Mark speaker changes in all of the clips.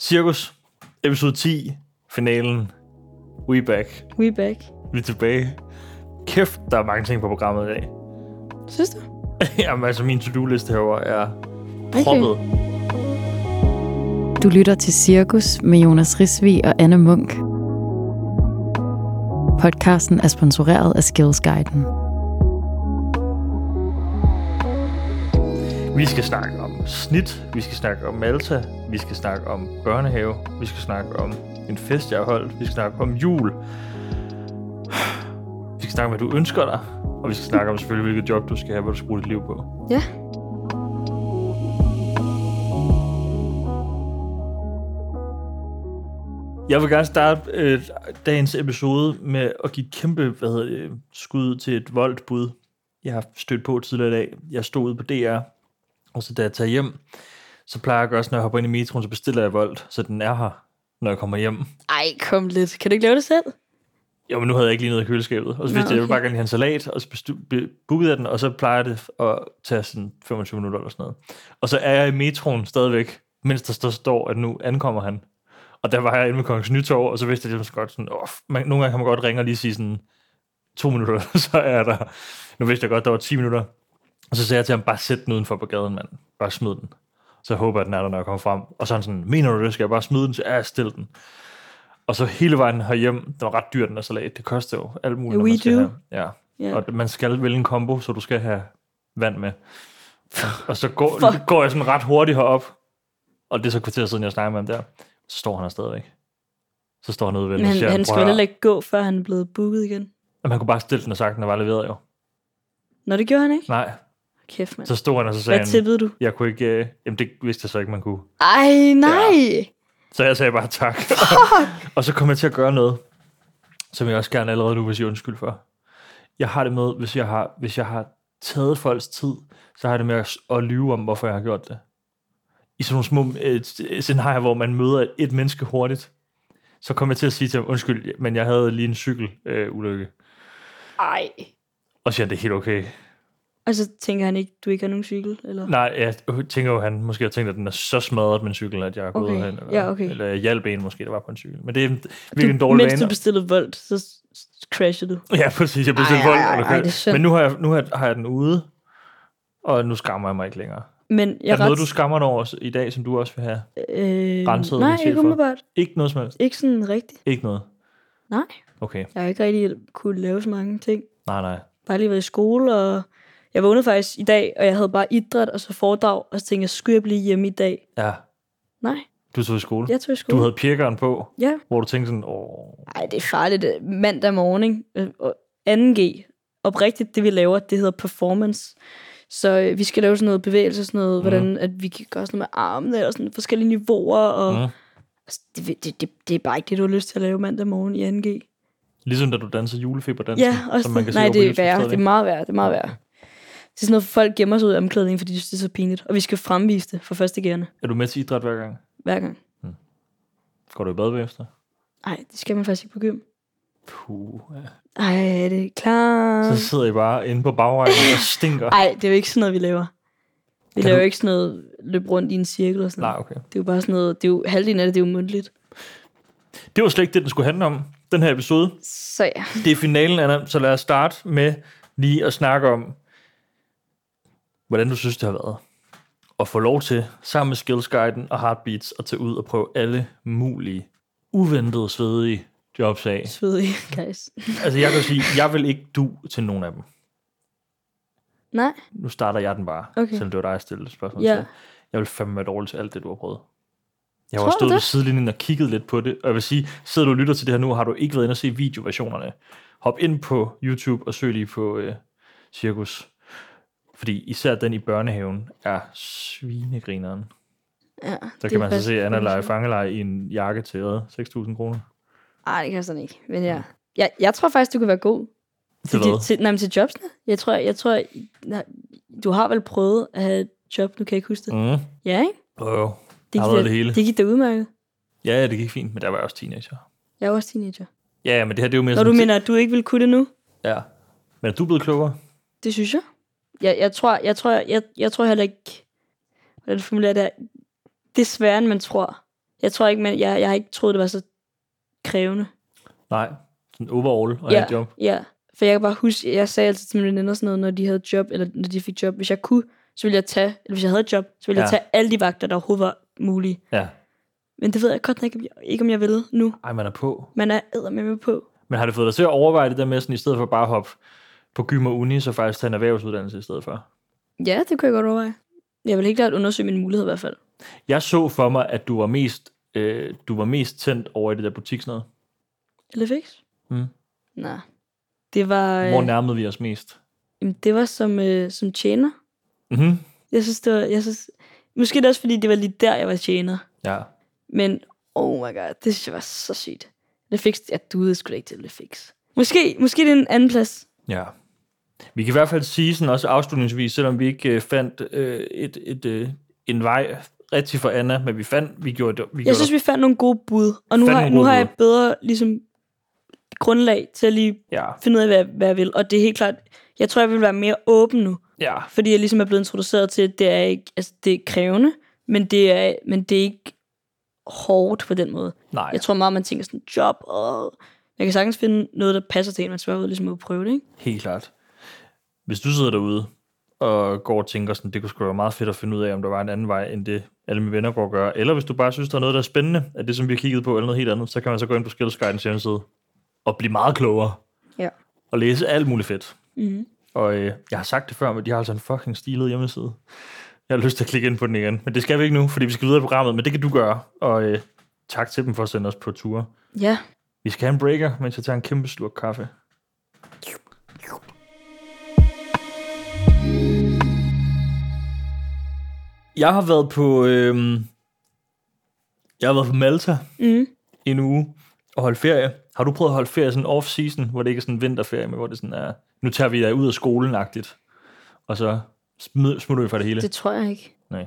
Speaker 1: Cirkus, episode 10, finalen. We back.
Speaker 2: We back.
Speaker 1: Vi er tilbage. Kæft, der er mange ting på programmet i dag.
Speaker 2: Synes du?
Speaker 1: Jamen altså, min to-do-liste herovre er proppet. Okay.
Speaker 2: Du lytter til Cirkus med Jonas Risvi og Anne Munk. Podcasten er sponsoreret af Skillsguiden.
Speaker 1: Vi skal snakke om snit, vi skal snakke om Malta, vi skal snakke om børnehave, vi skal snakke om en fest, jeg har holdt, vi skal snakke om jul. Vi skal snakke om, hvad du ønsker dig, og vi skal snakke om selvfølgelig, hvilket job du skal have, hvor du skal bruge dit liv på.
Speaker 2: Ja.
Speaker 1: Jeg vil gerne starte øh, dagens episode med at give et kæmpe hvad hedder det, skud til et voldbud, jeg har stødt på tidligere i dag. Jeg stod ude på DR, og så da jeg tager hjem, så plejer jeg også, når jeg hopper ind i metroen, så bestiller jeg vold, så den er her, når jeg kommer hjem.
Speaker 2: Ej, kom lidt. Kan du ikke lave det selv?
Speaker 1: Jo, men nu havde jeg ikke lige noget i køleskabet. Og så vidste
Speaker 2: Nå,
Speaker 1: okay. jeg, jeg ville
Speaker 2: okay.
Speaker 1: bare gerne have en salat, og så bestu- be- bookede jeg den, og så plejer det at tage sådan 25 minutter eller sådan noget. Og så er jeg i metroen stadigvæk, mens der står, står at nu ankommer han. Og der var jeg inde med Kongens Nytorv, og så vidste jeg, at det var godt sådan, åh, man, nogle gange kan man godt ringe og lige sige sådan, to minutter, så er jeg der. Nu vidste jeg godt, der var 10 minutter. Og så sagde jeg til ham, bare sæt den udenfor på gaden, mand. Bare smid den. Så jeg håber jeg, den er der, når jeg kommer frem. Og så er han sådan, mener du det? Skal jeg bare smide den? Så ja, jeg stille den. Og så hele vejen herhjem, det var ret dyrt, den her salat. Det koster jo alt muligt, når
Speaker 2: Yeah, we
Speaker 1: man skal
Speaker 2: do.
Speaker 1: have. Ja.
Speaker 2: Ja.
Speaker 1: Og man skal vælge en kombo, så du skal have vand med. Og så går,
Speaker 2: Fuck.
Speaker 1: går jeg sådan ret hurtigt herop, og det er så et kvarter siden, jeg snakker med ham der. Så står han her stadigvæk. Så står han ude ved
Speaker 2: Men
Speaker 1: den og
Speaker 2: han,
Speaker 1: siger,
Speaker 2: han skal
Speaker 1: "Prøv
Speaker 2: vel
Speaker 1: at-
Speaker 2: heller ikke gå, før han er blevet booket igen.
Speaker 1: Jamen, han kunne bare stille den og sagt, den var leveret jo.
Speaker 2: Nå, det gjorde han ikke.
Speaker 1: Nej,
Speaker 2: Kæft, mand.
Speaker 1: så stod han, og så sagde
Speaker 2: Hvad
Speaker 1: han,
Speaker 2: tippede du?
Speaker 1: jeg kunne ikke, øh, jamen det vidste jeg så ikke, man kunne.
Speaker 2: Ej, nej.
Speaker 1: Så jeg sagde bare tak. og så kom jeg til at gøre noget, som jeg også gerne allerede nu vil sige undskyld for. Jeg har det med, hvis jeg har, hvis jeg har taget folks tid, så har jeg det med at, at lyve om, hvorfor jeg har gjort det. I sådan nogle små øh, scenarier, hvor man møder et, et menneske hurtigt, så kom jeg til at sige til ham, undskyld, men jeg havde lige en cykelulykke. Øh, ulykke."
Speaker 2: Ej.
Speaker 1: og så siger han, det er helt okay.
Speaker 2: Og så tænker han ikke, du ikke har nogen cykel? Eller?
Speaker 1: Nej, jeg tænker jo, han måske har tænkt, at den er så smadret, min cykel, at jeg har gået
Speaker 2: Okay.
Speaker 1: hen. Eller,
Speaker 2: Ja, okay.
Speaker 1: eller jeg hjalp en måske, der var på en cykel. Men det er
Speaker 2: du,
Speaker 1: virkelig en dårlig
Speaker 2: Mens
Speaker 1: vane.
Speaker 2: du bestillede voldt, så s- s- crashede du.
Speaker 1: Ja, præcis. Jeg bestilte
Speaker 2: Ej,
Speaker 1: vold.
Speaker 2: ej, ej,
Speaker 1: og
Speaker 2: ej,
Speaker 1: kørt.
Speaker 2: det er synd.
Speaker 1: Men nu har, jeg, nu har, jeg- har jeg den ude, og nu skammer jeg mig ikke længere.
Speaker 2: Men jeg
Speaker 1: Jeg er der
Speaker 2: ret...
Speaker 1: noget, du skammer dig over s- i dag, som du også vil have?
Speaker 2: øh,
Speaker 1: rensede
Speaker 2: Nej,
Speaker 1: din sjæl
Speaker 2: ikke
Speaker 1: for?
Speaker 2: umiddelbart.
Speaker 1: Ikke noget som helst.
Speaker 2: Ikke sådan rigtigt.
Speaker 1: Ikke noget.
Speaker 2: Nej.
Speaker 1: Okay.
Speaker 2: Jeg har ikke rigtig kunne lave så mange ting.
Speaker 1: Nej, nej.
Speaker 2: bare lige været i skole, og jeg vågnede faktisk i dag, og jeg havde bare idræt og så foredrag, og så tænkte jeg, skulle jeg blive hjemme i dag?
Speaker 1: Ja,
Speaker 2: Nej,
Speaker 1: du tog i skole.
Speaker 2: jeg tog i skole.
Speaker 1: Du havde pirkeren på,
Speaker 2: Ja.
Speaker 1: hvor du tænkte sådan, åh,
Speaker 2: Ej, det er farligt. øh, Mandag morgen, ikke? Øh, og 2G. Oprigtigt, det vi laver, det hedder performance. Så øh, vi skal lave sådan noget bevægelse, sådan noget,
Speaker 1: Mhm.
Speaker 2: hvordan at vi kan gøre sådan noget med armene, og sådan forskellige niveauer, og
Speaker 1: Mhm.
Speaker 2: altså, det, det, det, det, er bare ikke det, du har lyst til at lave mandag morgen i 2G.
Speaker 1: ligesom da du danser julefiberdansen.
Speaker 2: Ja, også
Speaker 1: som
Speaker 2: man
Speaker 1: man kan se
Speaker 2: nej,
Speaker 1: over på
Speaker 2: det er
Speaker 1: YouTube
Speaker 2: værre. Det er
Speaker 1: stadig.
Speaker 2: meget værre. Det er meget værre. Det er sådan noget, folk gemmer sig ud af omklædningen, fordi de synes, det er så pinligt. Og vi skal fremvise det for første gerne
Speaker 1: Er du med til idræt hver gang?
Speaker 2: hver gang.
Speaker 1: Går du i bad bagefter?
Speaker 2: Nej, det skal man faktisk ikke på gym.
Speaker 1: Puh, ja.
Speaker 2: Ej, er det er klart.
Speaker 1: Så sidder I bare inde på bagrækken og stinker.
Speaker 2: Ej, det er jo ikke sådan noget, vi laver. Vi
Speaker 1: Kan
Speaker 2: laver
Speaker 1: du-
Speaker 2: du... ikke sådan noget løb rundt i en cirkel og sådan
Speaker 1: Nej,
Speaker 2: noget.
Speaker 1: okay.
Speaker 2: Det er jo bare sådan noget, det er jo halvdelen af det, det er jo mundtligt.
Speaker 1: Det var slet ikke det, den skulle handle om, den her episode.
Speaker 2: Så ja.
Speaker 1: Det er finalen, Anna, så lad os starte med lige at snakke om, hvordan du synes, det har været. At få lov til, sammen med Skillsguiden og Heartbeats, at tage ud og prøve alle mulige uventede, svedige jobs af.
Speaker 2: Svedig, guys.
Speaker 1: Altså jeg kan sige, jeg vil ikke du til nogen af dem.
Speaker 2: Nej,
Speaker 1: Nu starter jeg den bare,
Speaker 2: Okay.
Speaker 1: selvom det var dig, jeg stillede spørgsmål
Speaker 2: Ja.
Speaker 1: til. Jeg vil fandme være dårlig til alt det, du har prøvet. Jeg har
Speaker 2: Tror
Speaker 1: også
Speaker 2: du
Speaker 1: stået
Speaker 2: det?
Speaker 1: ved sidelinjen og kigget lidt på det, og jeg vil sige, sidder du og lytter til det her nu, og har du ikke været inde og se videoversionerne, hop ind på YouTube og søg lige på øh, Cirkus. Fordi især den i børnehaven er svinegrineren.
Speaker 2: ja.
Speaker 1: Der kan man så se Anna lege fangeleje i en jakke til hvad, 6.000 kroner.
Speaker 2: Nej, det kan jeg sådan ikke. Men ja. Jeg, jeg tror faktisk, du kan være god
Speaker 1: Til
Speaker 2: Til, de,
Speaker 1: hvad?
Speaker 2: til, nej, men til jobsene. Jeg tror, jeg tror nej, du har vel prøvet at have et job, nu kan jeg ikke huske det. Mm.
Speaker 1: Mm.
Speaker 2: Ja, ikke?
Speaker 1: Oh,
Speaker 2: Det
Speaker 1: Jeg har
Speaker 2: gik,
Speaker 1: været
Speaker 2: da,
Speaker 1: det hele.
Speaker 2: det gik da udmærket.
Speaker 1: ja, ja, det gik fint, men der var jeg også teenager.
Speaker 2: Jeg er også teenager.
Speaker 1: Ja, ja, men det her det er jo mere
Speaker 2: Når du
Speaker 1: sådan...
Speaker 2: mener, at du ikke ville kunne det nu,
Speaker 1: Ja. Men er du blevet klogere?
Speaker 2: det synes jeg. Jeg, jeg, tror, jeg, tror, jeg, jeg tror heller ikke, hvordan formulerer jeg det her? Desværre, end man tror. Jeg tror ikke, men jeg, jeg har ikke troet, det var så krævende.
Speaker 1: Nej, sådan overall og
Speaker 2: Ja.
Speaker 1: ja. et job.
Speaker 2: Ja, for jeg kan bare huske, jeg sagde altid til mine veninder sådan noget, når de havde job, eller når de fik job. Hvis jeg kunne, så ville jeg tage, eller hvis jeg havde job, så ville ja. jeg
Speaker 1: Ja.
Speaker 2: tage alle de vagter, der overhovedet var mulige.
Speaker 1: Ja.
Speaker 2: Men det ved jeg godt nok ikke, om jeg, ikke om jeg ville nu.
Speaker 1: Ej, man er på.
Speaker 2: Man er eddermame på.
Speaker 1: Men har det fået dig til at overveje det der med, sådan, i stedet for bare at hoppe på gym og uni, så faktisk tage en erhvervsuddannelse i stedet for?
Speaker 2: Ja, det kunne jeg godt overveje. Jeg vil helt klart undersøge mine muligheder i hvert fald.
Speaker 1: Jeg så for mig, at du var mest, øh, du var mest tændt over i det der butik sådan noget.
Speaker 2: Eller fix?
Speaker 1: Mm.
Speaker 2: Nej. Det var,
Speaker 1: Hvor
Speaker 2: øh,
Speaker 1: nærmede vi os mest?
Speaker 2: jamen, det var som, øh, som tjener.
Speaker 1: Mm-hmm.
Speaker 2: Jeg synes, det var, jeg synes, måske er det også, fordi det var lige der, jeg var tjener.
Speaker 1: Ja.
Speaker 2: Men, oh my god, det synes jeg var så sygt. Det fik, jeg duede sgu da ikke til det fix. Måske, måske det er en anden plads.
Speaker 1: Ja. Vi kan i hvert fald sige sådan også afslutningsvis, selvom vi ikke øh, fandt øh, et, et, øh, en vej rigtig for Anna, men vi fandt, vi gjorde det. Vi gjorde
Speaker 2: Jeg synes, vi fandt nogle gode bud, og nu
Speaker 1: Fandt
Speaker 2: har, jeg-
Speaker 1: nogle
Speaker 2: nu
Speaker 1: gode
Speaker 2: har jeg bedre ligesom, grundlag til at lige
Speaker 1: det. Ja.
Speaker 2: finde ud af, hvad, hvad jeg vil. Og det er helt klart, jeg tror, jeg vil være mere åben nu,
Speaker 1: ja.
Speaker 2: fordi jeg ligesom er blevet introduceret til, at det er, ikke, altså, det er krævende, men det er, men det er ikke hårdt på den måde.
Speaker 1: Nej.
Speaker 2: Jeg tror meget, man tænker sådan, job, og jeg kan sagtens finde noget, der passer til en, man svarer ud ligesom at prøve det, ikke?
Speaker 1: Helt klart. Hvis du sidder derude og går og tænker sådan, det kunne sgu være meget fedt at finde ud af, om der var en anden vej, end det alle mine venner går og gør, eller hvis du bare synes, der er noget, der er spændende, at det, som vi har kigget på, eller noget helt andet, så kan man så gå ind på Skills Guidens hjemmeside og blive meget klogere.
Speaker 2: Ja.
Speaker 1: Og læse alt muligt fedt.
Speaker 2: Mm-hmm.
Speaker 1: Og øh, jeg har sagt det før, men de har altså en fucking stilet hjemmeside. Jeg har lyst til at klikke ind på den igen, men det skal vi ikke nu, fordi vi skal videre i programmet, men det kan du gøre. Og øh, tak til dem for at sende os på ture.
Speaker 2: Ja.
Speaker 1: Vi skal have en breaker, mens jeg tager en kæmpe slurk kaffe. Jeg har været på øhm, jeg har været på Malta
Speaker 2: Mm.
Speaker 1: i en uge og holdt ferie. Har du prøvet at holde ferie sådan off-season, hvor det ikke er sådan vinterferie, men hvor det sådan er, nu tager vi jer ud af skolen-agtigt, og så smid, smutter vi fra det hele? Det,
Speaker 2: Det tror jeg ikke.
Speaker 1: Nej,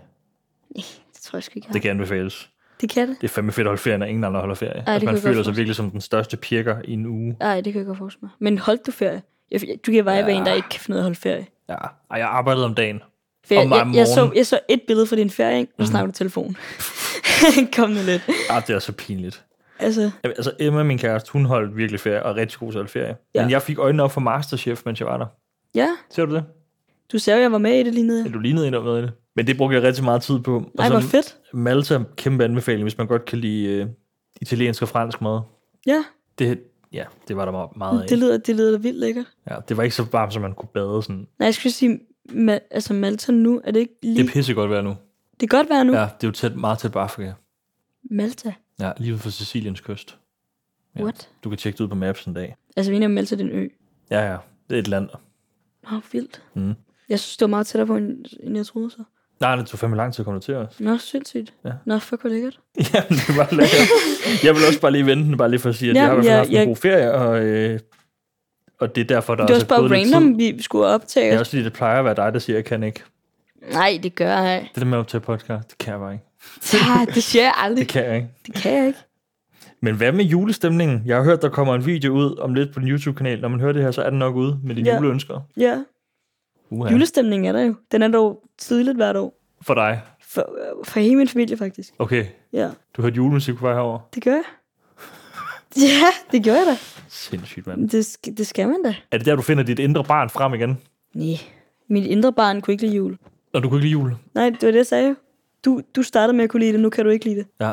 Speaker 2: Det tror jeg sgu ikke. jeg
Speaker 1: det
Speaker 2: har.
Speaker 1: kan anbefales.
Speaker 2: det kan det.
Speaker 1: Det er fandme fedt at holde ferie, når ingen andre holder ferie.
Speaker 2: Ej,
Speaker 1: Ej,
Speaker 2: det
Speaker 1: man
Speaker 2: kunne jeg godt
Speaker 1: føler sig
Speaker 2: forestille
Speaker 1: virkelig som den største pirker i en uge.
Speaker 2: Nej, det kan jeg godt forestille mig. Men holdt du ferie? Jeg- Du kan bare ja. være en, der ikke kan finde ud af at holde ferie.
Speaker 1: Ja, Ej, jeg arbejdede om Mhm. dagen.
Speaker 2: ferie.
Speaker 1: Og mig
Speaker 2: jeg, jeg, så,
Speaker 1: morgen.
Speaker 2: jeg så et billede fra din ferie, ikke? Nu snakker du telefon. Kom nu lidt.
Speaker 1: Ah, det er så pinligt.
Speaker 2: Altså,
Speaker 1: Jamen, Altså Emma, min kæreste, hun holdt virkelig ferie, og er rigtig god til at holde ferie. Ja.
Speaker 2: Ja.
Speaker 1: Men jeg fik øjnene op for Masterchef, mens jeg var der.
Speaker 2: ja.
Speaker 1: Ser du det?
Speaker 2: Du sagde jo, jeg var med i det lige nede.
Speaker 1: Ja, Du lignede en, der var med i det. Men det brugte jeg rigtig meget tid på. Og
Speaker 2: Nej, hvor
Speaker 1: så
Speaker 2: fedt.
Speaker 1: Malta, kæmpe anbefaling, hvis man godt kan lide øh, italiensk og fransk mad.
Speaker 2: Ja,
Speaker 1: Det, ja, det var der meget- meget af.
Speaker 2: det lyder, det lyder da vildt lækkert.
Speaker 1: Ja, det var ikke så varmt, som man kunne bade. Sådan.
Speaker 2: Nej, jeg skulle sige, ma- altså Malta nu, er det ikke lige...
Speaker 1: Det
Speaker 2: Det,
Speaker 1: er pissegodt vejr nu.
Speaker 2: det kan godt være nu.
Speaker 1: Ja, det er jo tæt, meget tæt på Afrika.
Speaker 2: Malta?
Speaker 1: Ja, lige ud for Siciliens kyst. Ja.
Speaker 2: What?
Speaker 1: Du kan tjekke det ud på maps en dag.
Speaker 2: Altså, vi er enige om, Malta det er en ø.
Speaker 1: Ja, ja. Det er et land.
Speaker 2: Nå, vildt.
Speaker 1: Mm.
Speaker 2: Jeg synes, det var meget tættere på, end end jeg troede så.
Speaker 1: Nej, det tog fandme lang tid at komme til os.
Speaker 2: Nå, sindssygt.
Speaker 1: Ja.
Speaker 2: Nå, fuck, hvor lækkert.
Speaker 1: Jamen, det var lækkert. Jeg vil også bare lige vente den, bare lige for at sige, at
Speaker 2: Ja,
Speaker 1: jeg har i hvert fald
Speaker 2: ja,
Speaker 1: haft
Speaker 2: ja.
Speaker 1: en god ferie, og, øh, og det er derfor, der
Speaker 2: Det var
Speaker 1: også
Speaker 2: også
Speaker 1: er
Speaker 2: bare
Speaker 1: gået lidt tid.
Speaker 2: random, vi skulle optage.
Speaker 1: Det er
Speaker 2: os.
Speaker 1: også fordi, det plejer at være dig, der siger, at jeg kan ikke.
Speaker 2: Nej, det gør jeg ikke.
Speaker 1: Det der med at optage podcast, det kan jeg bare ikke.
Speaker 2: Nej, det siger jeg aldrig.
Speaker 1: Det kan jeg ikke.
Speaker 2: Det kan jeg ikke.
Speaker 1: Men hvad med julestemningen? Jeg har hørt, der kommer en video ud om lidt på din YouTube-kanal. Når man hører det her, så er den nok ude med dine
Speaker 2: Ja.
Speaker 1: ja. juleønsker.
Speaker 2: Ja.
Speaker 1: Uha.
Speaker 2: ja. Julestemningen er der jo. Den er dog tidligt hvert år.
Speaker 1: For dig.
Speaker 2: For, for hele min familie, faktisk.
Speaker 1: Okay,
Speaker 2: Ja,
Speaker 1: du hørte julemusik på vej herover.
Speaker 2: det gør jeg. Ja, det gør jeg da.
Speaker 1: Sindssygt, mand.
Speaker 2: Det, sk- det skal man da.
Speaker 1: Er det der, du finder dit indre barn frem igen?
Speaker 2: Nej. Mit indre barn kunne ikke lide jul.
Speaker 1: Når du kunne ikke lide jul?
Speaker 2: Nej, det var det, jeg sagde. Du, du startede med at kunne lide det, nu kan du ikke lide det.
Speaker 1: Ja.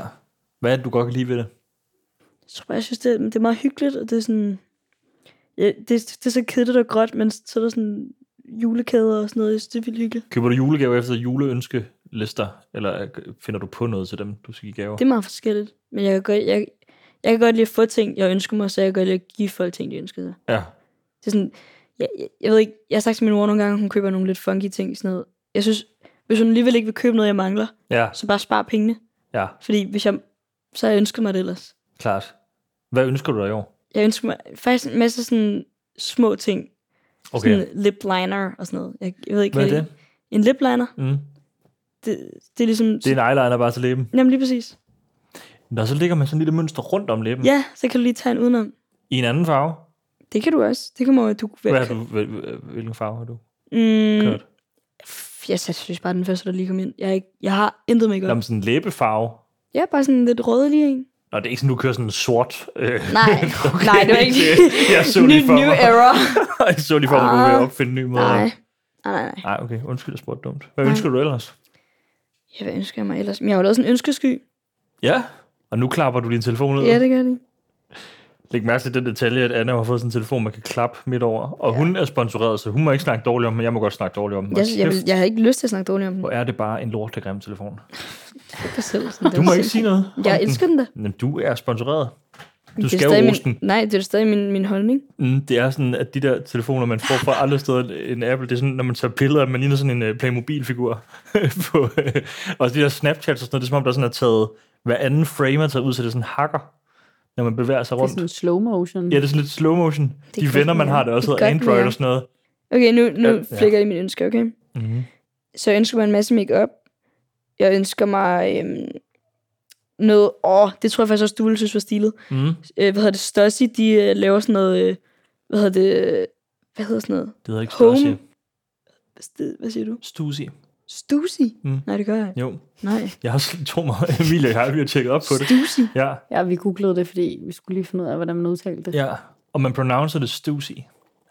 Speaker 1: Hvad er det, du godt kan lide ved det?
Speaker 2: Jeg tror bare, jeg synes, det er, det er meget hyggeligt, og det er sådan... Ja, det, det er så kedeligt og gråt, men så er der sådan julekæder og sådan noget. Jeg synes, det er vildt hyggeligt.
Speaker 1: Køber du julegaver efter juleønskelister, eller øh, finder du på noget til dem, du skal give gaver?
Speaker 2: Det er meget forskelligt. Men jeg kan godt, jeg, jeg kan godt lide at få ting, jeg ønsker mig, så jeg kan godt lide at give folk ting, de ønsker sig.
Speaker 1: Ja.
Speaker 2: Det er sådan, jeg, jeg, jeg ved ikke, jeg har sagt til min mor nogle gange, at hun køber nogle lidt funky ting, sådan noget. Jeg synes, hvis hun alligevel ikke vil købe noget, jeg mangler,
Speaker 1: Ja,
Speaker 2: så bare spar pengene.
Speaker 1: ja,
Speaker 2: Fordi hvis jeg, så har jeg ønsket mig det ellers.
Speaker 1: klart. Hvad ønsker du dig i år?
Speaker 2: Jeg ønsker mig faktisk en masse sådan små ting. Sådan lip liner og sådan noget. Jeg, jeg ved ikke,
Speaker 1: Hvad er det?
Speaker 2: det? En lip liner,
Speaker 1: Mm.
Speaker 2: det, det er ligesom...
Speaker 1: Det er en Mm. eyeliner bare til læben.
Speaker 2: Jamen lige præcis.
Speaker 1: Nå, så ligger man sådan en lille mønster rundt om læben.
Speaker 2: Ja, så kan du lige tage en udenom.
Speaker 1: I en anden farve.
Speaker 2: Det kan du også. Det kommer du...
Speaker 1: Hvad har du, hvil- hvil- hvilken farve har du
Speaker 2: Mm,
Speaker 1: kørt?
Speaker 2: f- jeg synes bare, den første, der lige kom ind. Jeg, er ikke, jeg har intet make
Speaker 1: Mm. Jamen, sådan en læbefarve.
Speaker 2: Ja, bare sådan en lidt rødlig en.
Speaker 1: Nå, det er ikke sådan, du kører sådan en sort... Øh,
Speaker 2: Nej, nej, det var ikke
Speaker 1: jeg så
Speaker 2: new,
Speaker 1: lige for
Speaker 2: new
Speaker 1: mig.
Speaker 2: era.
Speaker 1: jeg så lige for mig, at du var ved at
Speaker 2: Ah.
Speaker 1: opfinde en ny måde.
Speaker 2: Nej. Nej, nej, nej.
Speaker 1: Nej, okay. Undskyld, jeg spurgte dumt. Hvad
Speaker 2: Nej.
Speaker 1: ønsker du ellers?
Speaker 2: Ja, hvad ønsker jeg mig ellers? Men jeg har jo lavet sådan en ønskesky.
Speaker 1: Ja, og nu klapper du din telefon ud.
Speaker 2: Ja, det gør de.
Speaker 1: Læg mærke til den detalje, at Anna har fået sådan en telefon, man kan klappe midt over. Og ja. hun er sponsoreret, så hun må ikke snakke dårligt om den, men jeg må godt snakke dårligt om den.
Speaker 2: Jeg,
Speaker 1: Hold
Speaker 2: jeg,
Speaker 1: kæft,
Speaker 2: vil, jeg har ikke lyst til at snakke dårligt om den.
Speaker 1: Hvor er det bare en lortegrim telefon.
Speaker 2: Fuck dig selv. Sådan,
Speaker 1: Du må ikke sige noget. om
Speaker 2: Jeg
Speaker 1: den.
Speaker 2: elsker den da.
Speaker 1: Men du er sponsoreret. Du
Speaker 2: Det er
Speaker 1: skal
Speaker 2: stadig
Speaker 1: jo rose
Speaker 2: min,
Speaker 1: den.
Speaker 2: Nej, det er stadig min, min holdning.
Speaker 1: Mm, det er sådan, at de der telefoner, man får fra andre steder end Apple, det er sådan, når man tager billeder, at man ligner sådan en uh, Playmobil-figur. på, øh, og de der Snapchats og sådan noget, det er som om, der sådan er taget, hver anden frame er taget ud, så det er sådan hakker, når man bevæger sig
Speaker 3: Det er
Speaker 1: rundt.
Speaker 3: sådan en slow motion.
Speaker 1: Ja, det er sådan lidt slow motion.
Speaker 2: Det
Speaker 1: De
Speaker 2: kan
Speaker 1: venner, man
Speaker 2: være.
Speaker 1: har, det også
Speaker 2: Det
Speaker 1: hedder
Speaker 2: kan
Speaker 1: Android
Speaker 2: være.
Speaker 1: og sådan noget.
Speaker 2: Okay, nu, nu
Speaker 1: Ja, ja.
Speaker 2: ja, flikker jeg i mine ønsker, okay?
Speaker 1: Mm-hmm.
Speaker 2: Så jeg ønsker mig en masse makeup. Jeg ønsker mig øhm, noget... Åh, det tror jeg faktisk også, du ville synes var stilet.
Speaker 1: Mm.
Speaker 2: Øh, hvad hedder det? Stussy, de øh, laver sådan noget... Øh, hvad hedder det? øh, Hvad hedder sådan noget?
Speaker 1: Det hedder ikke
Speaker 2: Home.
Speaker 1: Stussy.
Speaker 2: St- hvad siger du?
Speaker 1: Stussy.
Speaker 2: Stussy?
Speaker 1: Mm.
Speaker 2: Nej, det gør jeg ikke.
Speaker 1: Jo,
Speaker 2: Nej.
Speaker 1: jeg har også to mig. Emilie og jeg vi har tjekket op på det.
Speaker 2: Stussy?
Speaker 1: Ja,
Speaker 3: Ja, vi googlede det, fordi vi skulle lige finde ud af, hvordan man udtalte det.
Speaker 1: ja. Og man pronouncer det Stussy.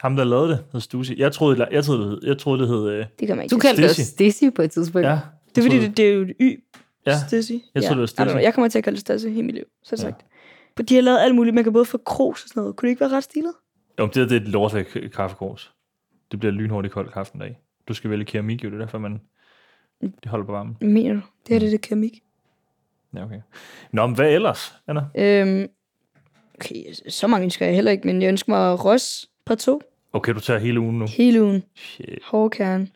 Speaker 1: Ham, der lavede det, hed Stussy. Jeg troede, jeg troede, det hed, jeg troede, det hed øh,
Speaker 2: Det gør man ikke.
Speaker 3: Du kaldte det også
Speaker 1: Stacey.
Speaker 3: Stacy på et tidspunkt.
Speaker 1: ja.
Speaker 2: Det er fordi,
Speaker 1: troede-
Speaker 2: det, det er jo et y.
Speaker 1: Ja.
Speaker 2: Stussy.
Speaker 1: Jeg troede, det var Stussy.
Speaker 2: I don't know, Jeg kommer til at kalde det Stussy hele mit liv. Så
Speaker 1: Ja.
Speaker 2: sagt. Ja. De har lavet alt muligt. Man kan både få kros og sådan noget. Kunne det ikke være ret stilet?
Speaker 1: Jo, men det, der, det er et lortet kaffekors. Det bliver lynhurtigt koldt kaffen dag. Du skal vælge keramik, jo. Det er derfor, man det holder på varmen.
Speaker 2: Hvad Mener du? Det her det er det keramik.
Speaker 1: Ja, okay. Nå, men hvad ellers, Anna?
Speaker 2: Øhm, okay, så mange ønsker jeg heller ikke, men jeg ønsker mig Ross par to
Speaker 1: Okay, du tager hele ugen nu.
Speaker 2: hele ugen.
Speaker 1: Shit.
Speaker 2: Hårdkern.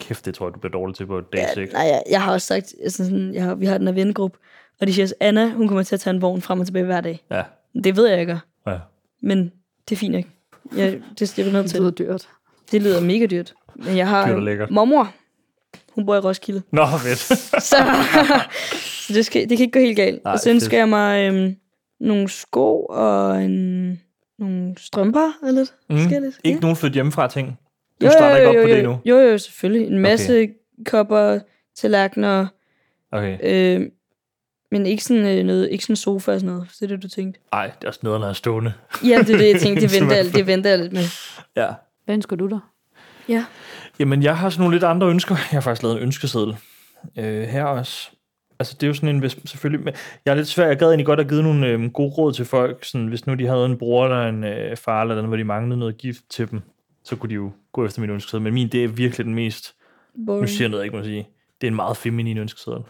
Speaker 1: Kæft, det tror jeg, du bliver dårlig til på dag
Speaker 2: Ja,
Speaker 1: 6.
Speaker 2: nej, jeg, jeg, har også sagt, altså sådan, jeg har, vi har den her vennegruppe, og de siger, at Anna, hun kommer til at tage en vogn frem og tilbage hver dag.
Speaker 1: Ja.
Speaker 2: Det ved jeg, jeg gør,
Speaker 1: ja.
Speaker 2: men det er fint ikke. Jeg, det er jeg nødt
Speaker 3: Det
Speaker 2: til.
Speaker 3: lyder dyrt.
Speaker 2: Det lyder mega dyrt. Men jeg har
Speaker 1: Dyrt og
Speaker 2: jo
Speaker 1: lækkert.
Speaker 2: mormor. Hun bor i Roskilde.
Speaker 1: Nå, fedt.
Speaker 2: Så, så det, skal, det kan ikke gå helt galt.
Speaker 1: Nej,
Speaker 2: og så
Speaker 1: fedt.
Speaker 2: ønsker jeg mig øhm, nogle sko og en, nogle strømper eller lidt.
Speaker 1: Mm.
Speaker 2: Forskelligt, ja.
Speaker 1: Ikke nogen flytte hjemmefra ting. Du starter ikke op
Speaker 2: jo,
Speaker 1: på
Speaker 2: jo,
Speaker 1: det nu.
Speaker 2: Jo, jo, selvfølgelig. En masse okay. kopper, tallerkener,
Speaker 1: Okay.
Speaker 2: øh, men ikke sådan, øh, noget, ikke sådan sofa og sådan noget. Så det er det, du tænkte.
Speaker 1: Ej, det er også noget, der er stående.
Speaker 2: Ja, det er det, jeg tænkte. Det
Speaker 1: Som
Speaker 2: venter,
Speaker 1: er
Speaker 2: jeg, det venter jeg lidt med.
Speaker 1: Ja.
Speaker 3: Hvad ønsker du dig?
Speaker 2: Ja.
Speaker 1: Jamen, jeg har sådan nogle lidt andre ønsker. Jeg har faktisk lavet en ønskeseddel øh, her også. Altså, det er jo sådan en, hvis, selvfølgelig, men jeg er lidt svær, jeg gad egentlig godt at give nogle øh, gode råd til folk, sådan, hvis nu de havde en bror eller en øh, far eller noget, hvor de manglede noget gift til dem, så kunne de jo gå efter min ønskeseddel. Men min, det er virkelig den mest, nu siger
Speaker 2: Boring.
Speaker 1: jeg noget, jeg ikke må sige, det er en meget feminin ønskeseddel.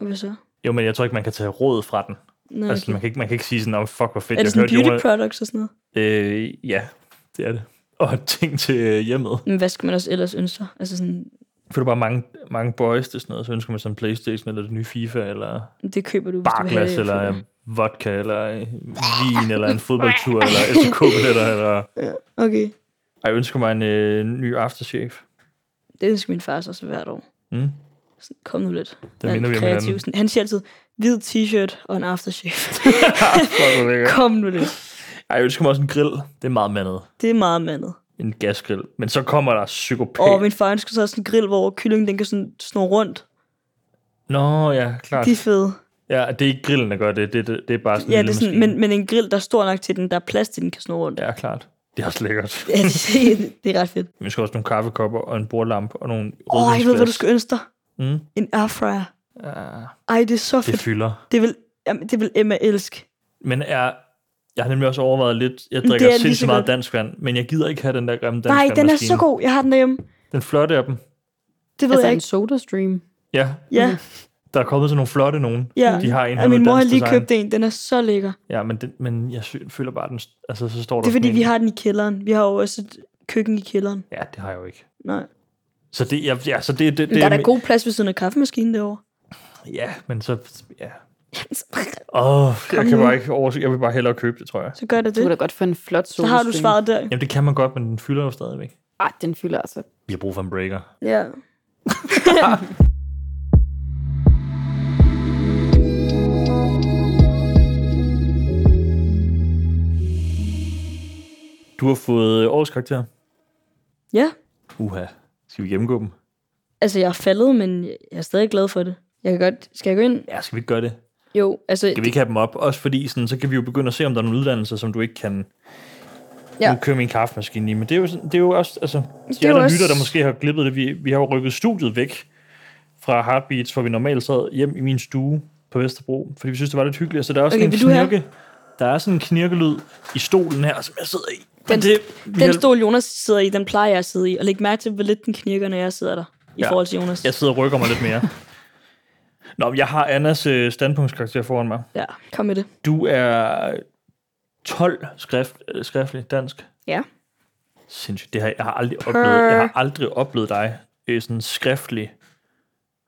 Speaker 2: Og hvad så?
Speaker 1: Jo, men jeg tror ikke, man kan tage råd fra den.
Speaker 2: Nå,
Speaker 1: Altså,
Speaker 2: Mm, okay.
Speaker 1: man kan ikke, man kan ikke sige sådan, oh, fuck, hvor fedt,
Speaker 2: Er det sådan beauty
Speaker 1: Jonas-
Speaker 2: products og sådan noget?
Speaker 1: Øh, ja, det er det. Og ting til øh, hjemmet.
Speaker 2: Men hvad skal man også ellers ønske sig? Altså sådan,
Speaker 1: For der er bare mange, mange boys til sådan noget, så ønsker man sådan en Playstation, eller det nye FIFA, eller
Speaker 2: det køber du, hvis du vil have
Speaker 1: barglas,
Speaker 2: det.
Speaker 1: eller øh, vodka, eller øh, vin, eller en fodboldtur, eller SK-billetter, eller...
Speaker 2: Okay.
Speaker 1: Ej, jeg ønsker mig en øh, ny afterchef.
Speaker 2: Det ønsker min far sig også hvert år.
Speaker 1: Mm.
Speaker 2: Sådan, kom nu lidt.
Speaker 1: Der
Speaker 2: Han er
Speaker 1: minder vi om hinanden.
Speaker 2: kreativ. Sådan, han siger altid, hvid t-shirt og en aftershave.
Speaker 1: Ah, Fuck, hvor lækkert.
Speaker 2: kom nu lidt.
Speaker 1: Ej, jeg ønsker mig også en grill. Det er meget mandet.
Speaker 2: Det er meget mandet.
Speaker 1: En gasgrill. Men så kommer der psykopat.
Speaker 2: Og min far ønsker sig også en grill, hvor kyllingen den kan sådan snurre rundt.
Speaker 1: Nå, ja, klart.
Speaker 2: De er fede.
Speaker 1: Ja, det er ikke grillen, der gør det. Det, det, det er bare sådan en
Speaker 2: Ja, det
Speaker 1: lille
Speaker 2: er sådan,
Speaker 1: maskine.
Speaker 2: men, men en grill, der er stor nok til den, der er plads til, den kan snurre rundt. Ja.
Speaker 1: Ja, klart. Det er også lækkert.
Speaker 2: det, det er ret fedt.
Speaker 1: Vi skal også nogle kaffekopper og en bordlampe og nogle
Speaker 2: Åh, oh, jeg ved, hvad du skal ønske dig.
Speaker 1: Mm.
Speaker 2: En airfryer.
Speaker 1: Ja,
Speaker 2: Ej, det er så
Speaker 1: det
Speaker 2: fedt.
Speaker 1: fylder.
Speaker 2: Det vil, jamen, det vil Emma elske.
Speaker 1: Men er, jeg har nemlig også overvejet lidt, jeg drikker
Speaker 2: er lige så
Speaker 1: sindssygt meget
Speaker 2: godt.
Speaker 1: dansk vand, men jeg gider ikke have den der grimme dansk
Speaker 2: Nej, den er
Speaker 1: vandmaskine.
Speaker 2: så god. Jeg har den derhjemme.
Speaker 1: Den flotte af dem.
Speaker 2: Det ved
Speaker 3: Altså
Speaker 2: jeg
Speaker 3: en
Speaker 2: ikke.
Speaker 3: soda stream.
Speaker 1: Ja,
Speaker 2: Ja,
Speaker 1: der er kommet sådan nogle flotte nogen.
Speaker 2: ja.
Speaker 1: De har en
Speaker 2: Og
Speaker 1: her med
Speaker 2: min mor har
Speaker 1: dansk
Speaker 2: lige
Speaker 1: design.
Speaker 2: købt en. Den er så lækker.
Speaker 1: Ja, men, den, men jeg sy- føler bare, den, altså så står der
Speaker 2: Det er
Speaker 1: sådan
Speaker 2: fordi,
Speaker 1: en-
Speaker 2: vi har den i kælderen. Vi har jo også et køkken i kælderen.
Speaker 1: Ja, det har jeg jo ikke.
Speaker 2: Nej.
Speaker 1: Så det, ja, ja så det, det,
Speaker 2: Men
Speaker 1: det
Speaker 2: der er da god plads ved siden af kaffemaskinen derovre.
Speaker 1: Ja, men så, ja. Åh, oh, jeg kan
Speaker 2: nu.
Speaker 1: bare ikke overse, jeg vil bare hellere købe det, tror jeg.
Speaker 2: Så gør det
Speaker 3: Du
Speaker 2: det.
Speaker 3: kan da godt få en flot
Speaker 2: Så
Speaker 3: soda
Speaker 2: har du svaret der.
Speaker 1: Jamen det kan man godt, men den fylder jo stadigvæk.
Speaker 3: Ej, den fylder altså.
Speaker 1: Vi har brug for en breaker.
Speaker 2: Ja.
Speaker 1: Du har fået øh, årets karakter.
Speaker 2: Ja.
Speaker 1: Uha. Skal vi gennemgå dem?
Speaker 2: Altså, jeg er faldet, men jeg er stadig glad for det. Jeg kan godt... Skal jeg gå ind?
Speaker 1: Ja, skal vi ikke gøre det?
Speaker 2: Jo, altså...
Speaker 1: Kan vi ikke have dem op? Også fordi, sådan, så kan vi jo begynde at se, om der er nogle uddannelser, som du ikke kan...
Speaker 2: Ja.
Speaker 1: Ja. Nu kører min kaffemaskine lige, men det er jo, sådan, det er jo også... Altså,
Speaker 2: det
Speaker 1: de
Speaker 2: er
Speaker 1: er
Speaker 2: jo
Speaker 1: der
Speaker 2: også-
Speaker 1: lytter, der måske har glippet det. Vi, vi har jo rykket studiet væk fra Heartbeats, hvor vi normalt sad hjem i min stue på Vesterbro, fordi vi synes, det var lidt hyggeligt. Så der er også
Speaker 2: Okay,
Speaker 1: okay, en
Speaker 2: vil du have-
Speaker 1: knirke. Der er sådan en knirkelyd i stolen her, som jeg sidder i. Men
Speaker 2: Den-
Speaker 1: det, vi
Speaker 2: Den
Speaker 1: har-
Speaker 2: stol, Jonas sidder i, den plejer jeg at sidde i. Og læg mærke til, hvor lidt den knirker, når jeg sidder der. I
Speaker 1: Ja.
Speaker 2: forhold til Jonas.
Speaker 1: Jeg sidder og rykker mig lidt mere. Nå, men jeg har Annas øh, standpunktskarakter foran mig.
Speaker 2: Ja, kom med det.
Speaker 1: Du er 12 skrift, øh, skriftlig dansk.
Speaker 2: Ja.
Speaker 1: Sindssygt. Det har jeg, jeg har aldrig
Speaker 2: Per-
Speaker 1: oplevet. Jeg har aldrig oplevet dig øh, sådan skriftlig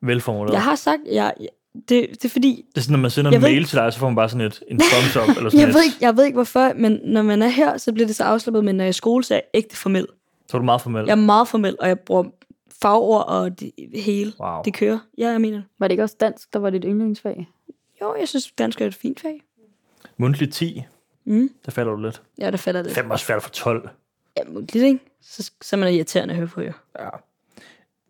Speaker 1: velformuleret.
Speaker 2: Jeg har sagt, jeg, det, det er fordi,
Speaker 1: Det er sådan, når man sender
Speaker 2: Jeg
Speaker 1: en
Speaker 2: ved
Speaker 1: mail
Speaker 2: ikke-
Speaker 1: til dig, så får man bare sådan et, en thumbs up. eller sådan
Speaker 2: jeg
Speaker 1: et.
Speaker 2: ved, ikke, jeg ved ikke hvorfor, men når man er her, så bliver det så afslappet, men når jeg er i skole, så er jeg ægte formel.
Speaker 1: Så er du meget formel.
Speaker 2: Jeg er meget formel, og jeg bruger fagord og det hele.
Speaker 1: Wow.
Speaker 2: Det kører. Ja, jeg mener det.
Speaker 3: Var det ikke også dansk, der var dit yndlingsfag?
Speaker 2: Jo, jeg synes, dansk er et fint fag.
Speaker 1: Mundtlig 10.
Speaker 2: Mm.
Speaker 1: Der falder du lidt.
Speaker 2: Ja, der falder det.
Speaker 1: Det er også svært for 12.
Speaker 2: Ja, mundtligt, ikke? Så, så er man irriterende at høre på, jo.
Speaker 1: Ja.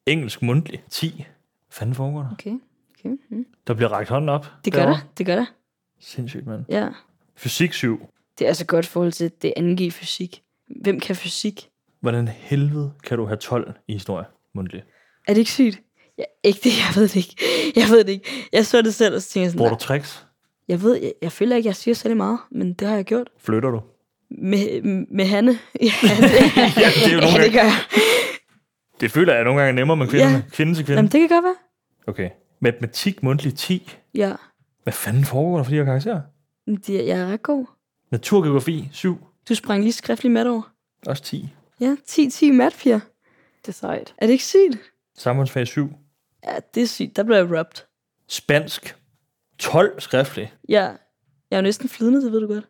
Speaker 1: Engelsk mundtlig 10. Hvad fanden foregår der?
Speaker 2: Okay. okay. Mm.
Speaker 1: Der bliver rakt hånden op.
Speaker 2: Det gør
Speaker 1: derovre.
Speaker 2: der. Det gør der.
Speaker 1: Sindssygt, mand.
Speaker 2: Ja.
Speaker 1: Fysik 7.
Speaker 2: Det er altså godt i forhold til at det angiver fysik. Hvem kan fysik?
Speaker 1: Hvordan helvede kan du have 12 i historie mundtlig?
Speaker 2: Er det ikke sygt? Ja, ikke det, jeg ved det ikke. Jeg ved det ikke. Jeg så det selv, og så tænkte jeg sådan,
Speaker 1: Bruger du
Speaker 2: nej,
Speaker 1: tricks?
Speaker 2: jeg ved, jeg, jeg føler ikke, jeg siger særlig meget, men det har jeg gjort.
Speaker 1: Flytter du?
Speaker 2: Med, med Hanne. Ja, det,
Speaker 1: Ja, det er jo nogle
Speaker 2: ja,
Speaker 1: gange,
Speaker 2: det gør jeg.
Speaker 1: det føler jeg nogle gange er nemmere med kvinderne. Ja. Kvinde til kvinde.
Speaker 2: Jamen, det kan godt være.
Speaker 1: Okay. Matematik mundtlig 10.
Speaker 2: Ja,
Speaker 1: Hvad fanden foregår der for de her karakterer?
Speaker 2: men det, jeg er ret god.
Speaker 1: Naturgeografi 7.
Speaker 2: Du sprang lige skriftlig mat over.
Speaker 1: Også 10.
Speaker 2: Ja, 10-10 matpiger.
Speaker 3: Det er sejt.
Speaker 2: Er det ikke sygt?
Speaker 1: Samfundsfag 7.
Speaker 2: Ja, det er sygt. Der blev jeg rubbed.
Speaker 1: Spansk 12 skriftlig.
Speaker 2: Ja, jeg er jo næsten flydende, det ved du godt.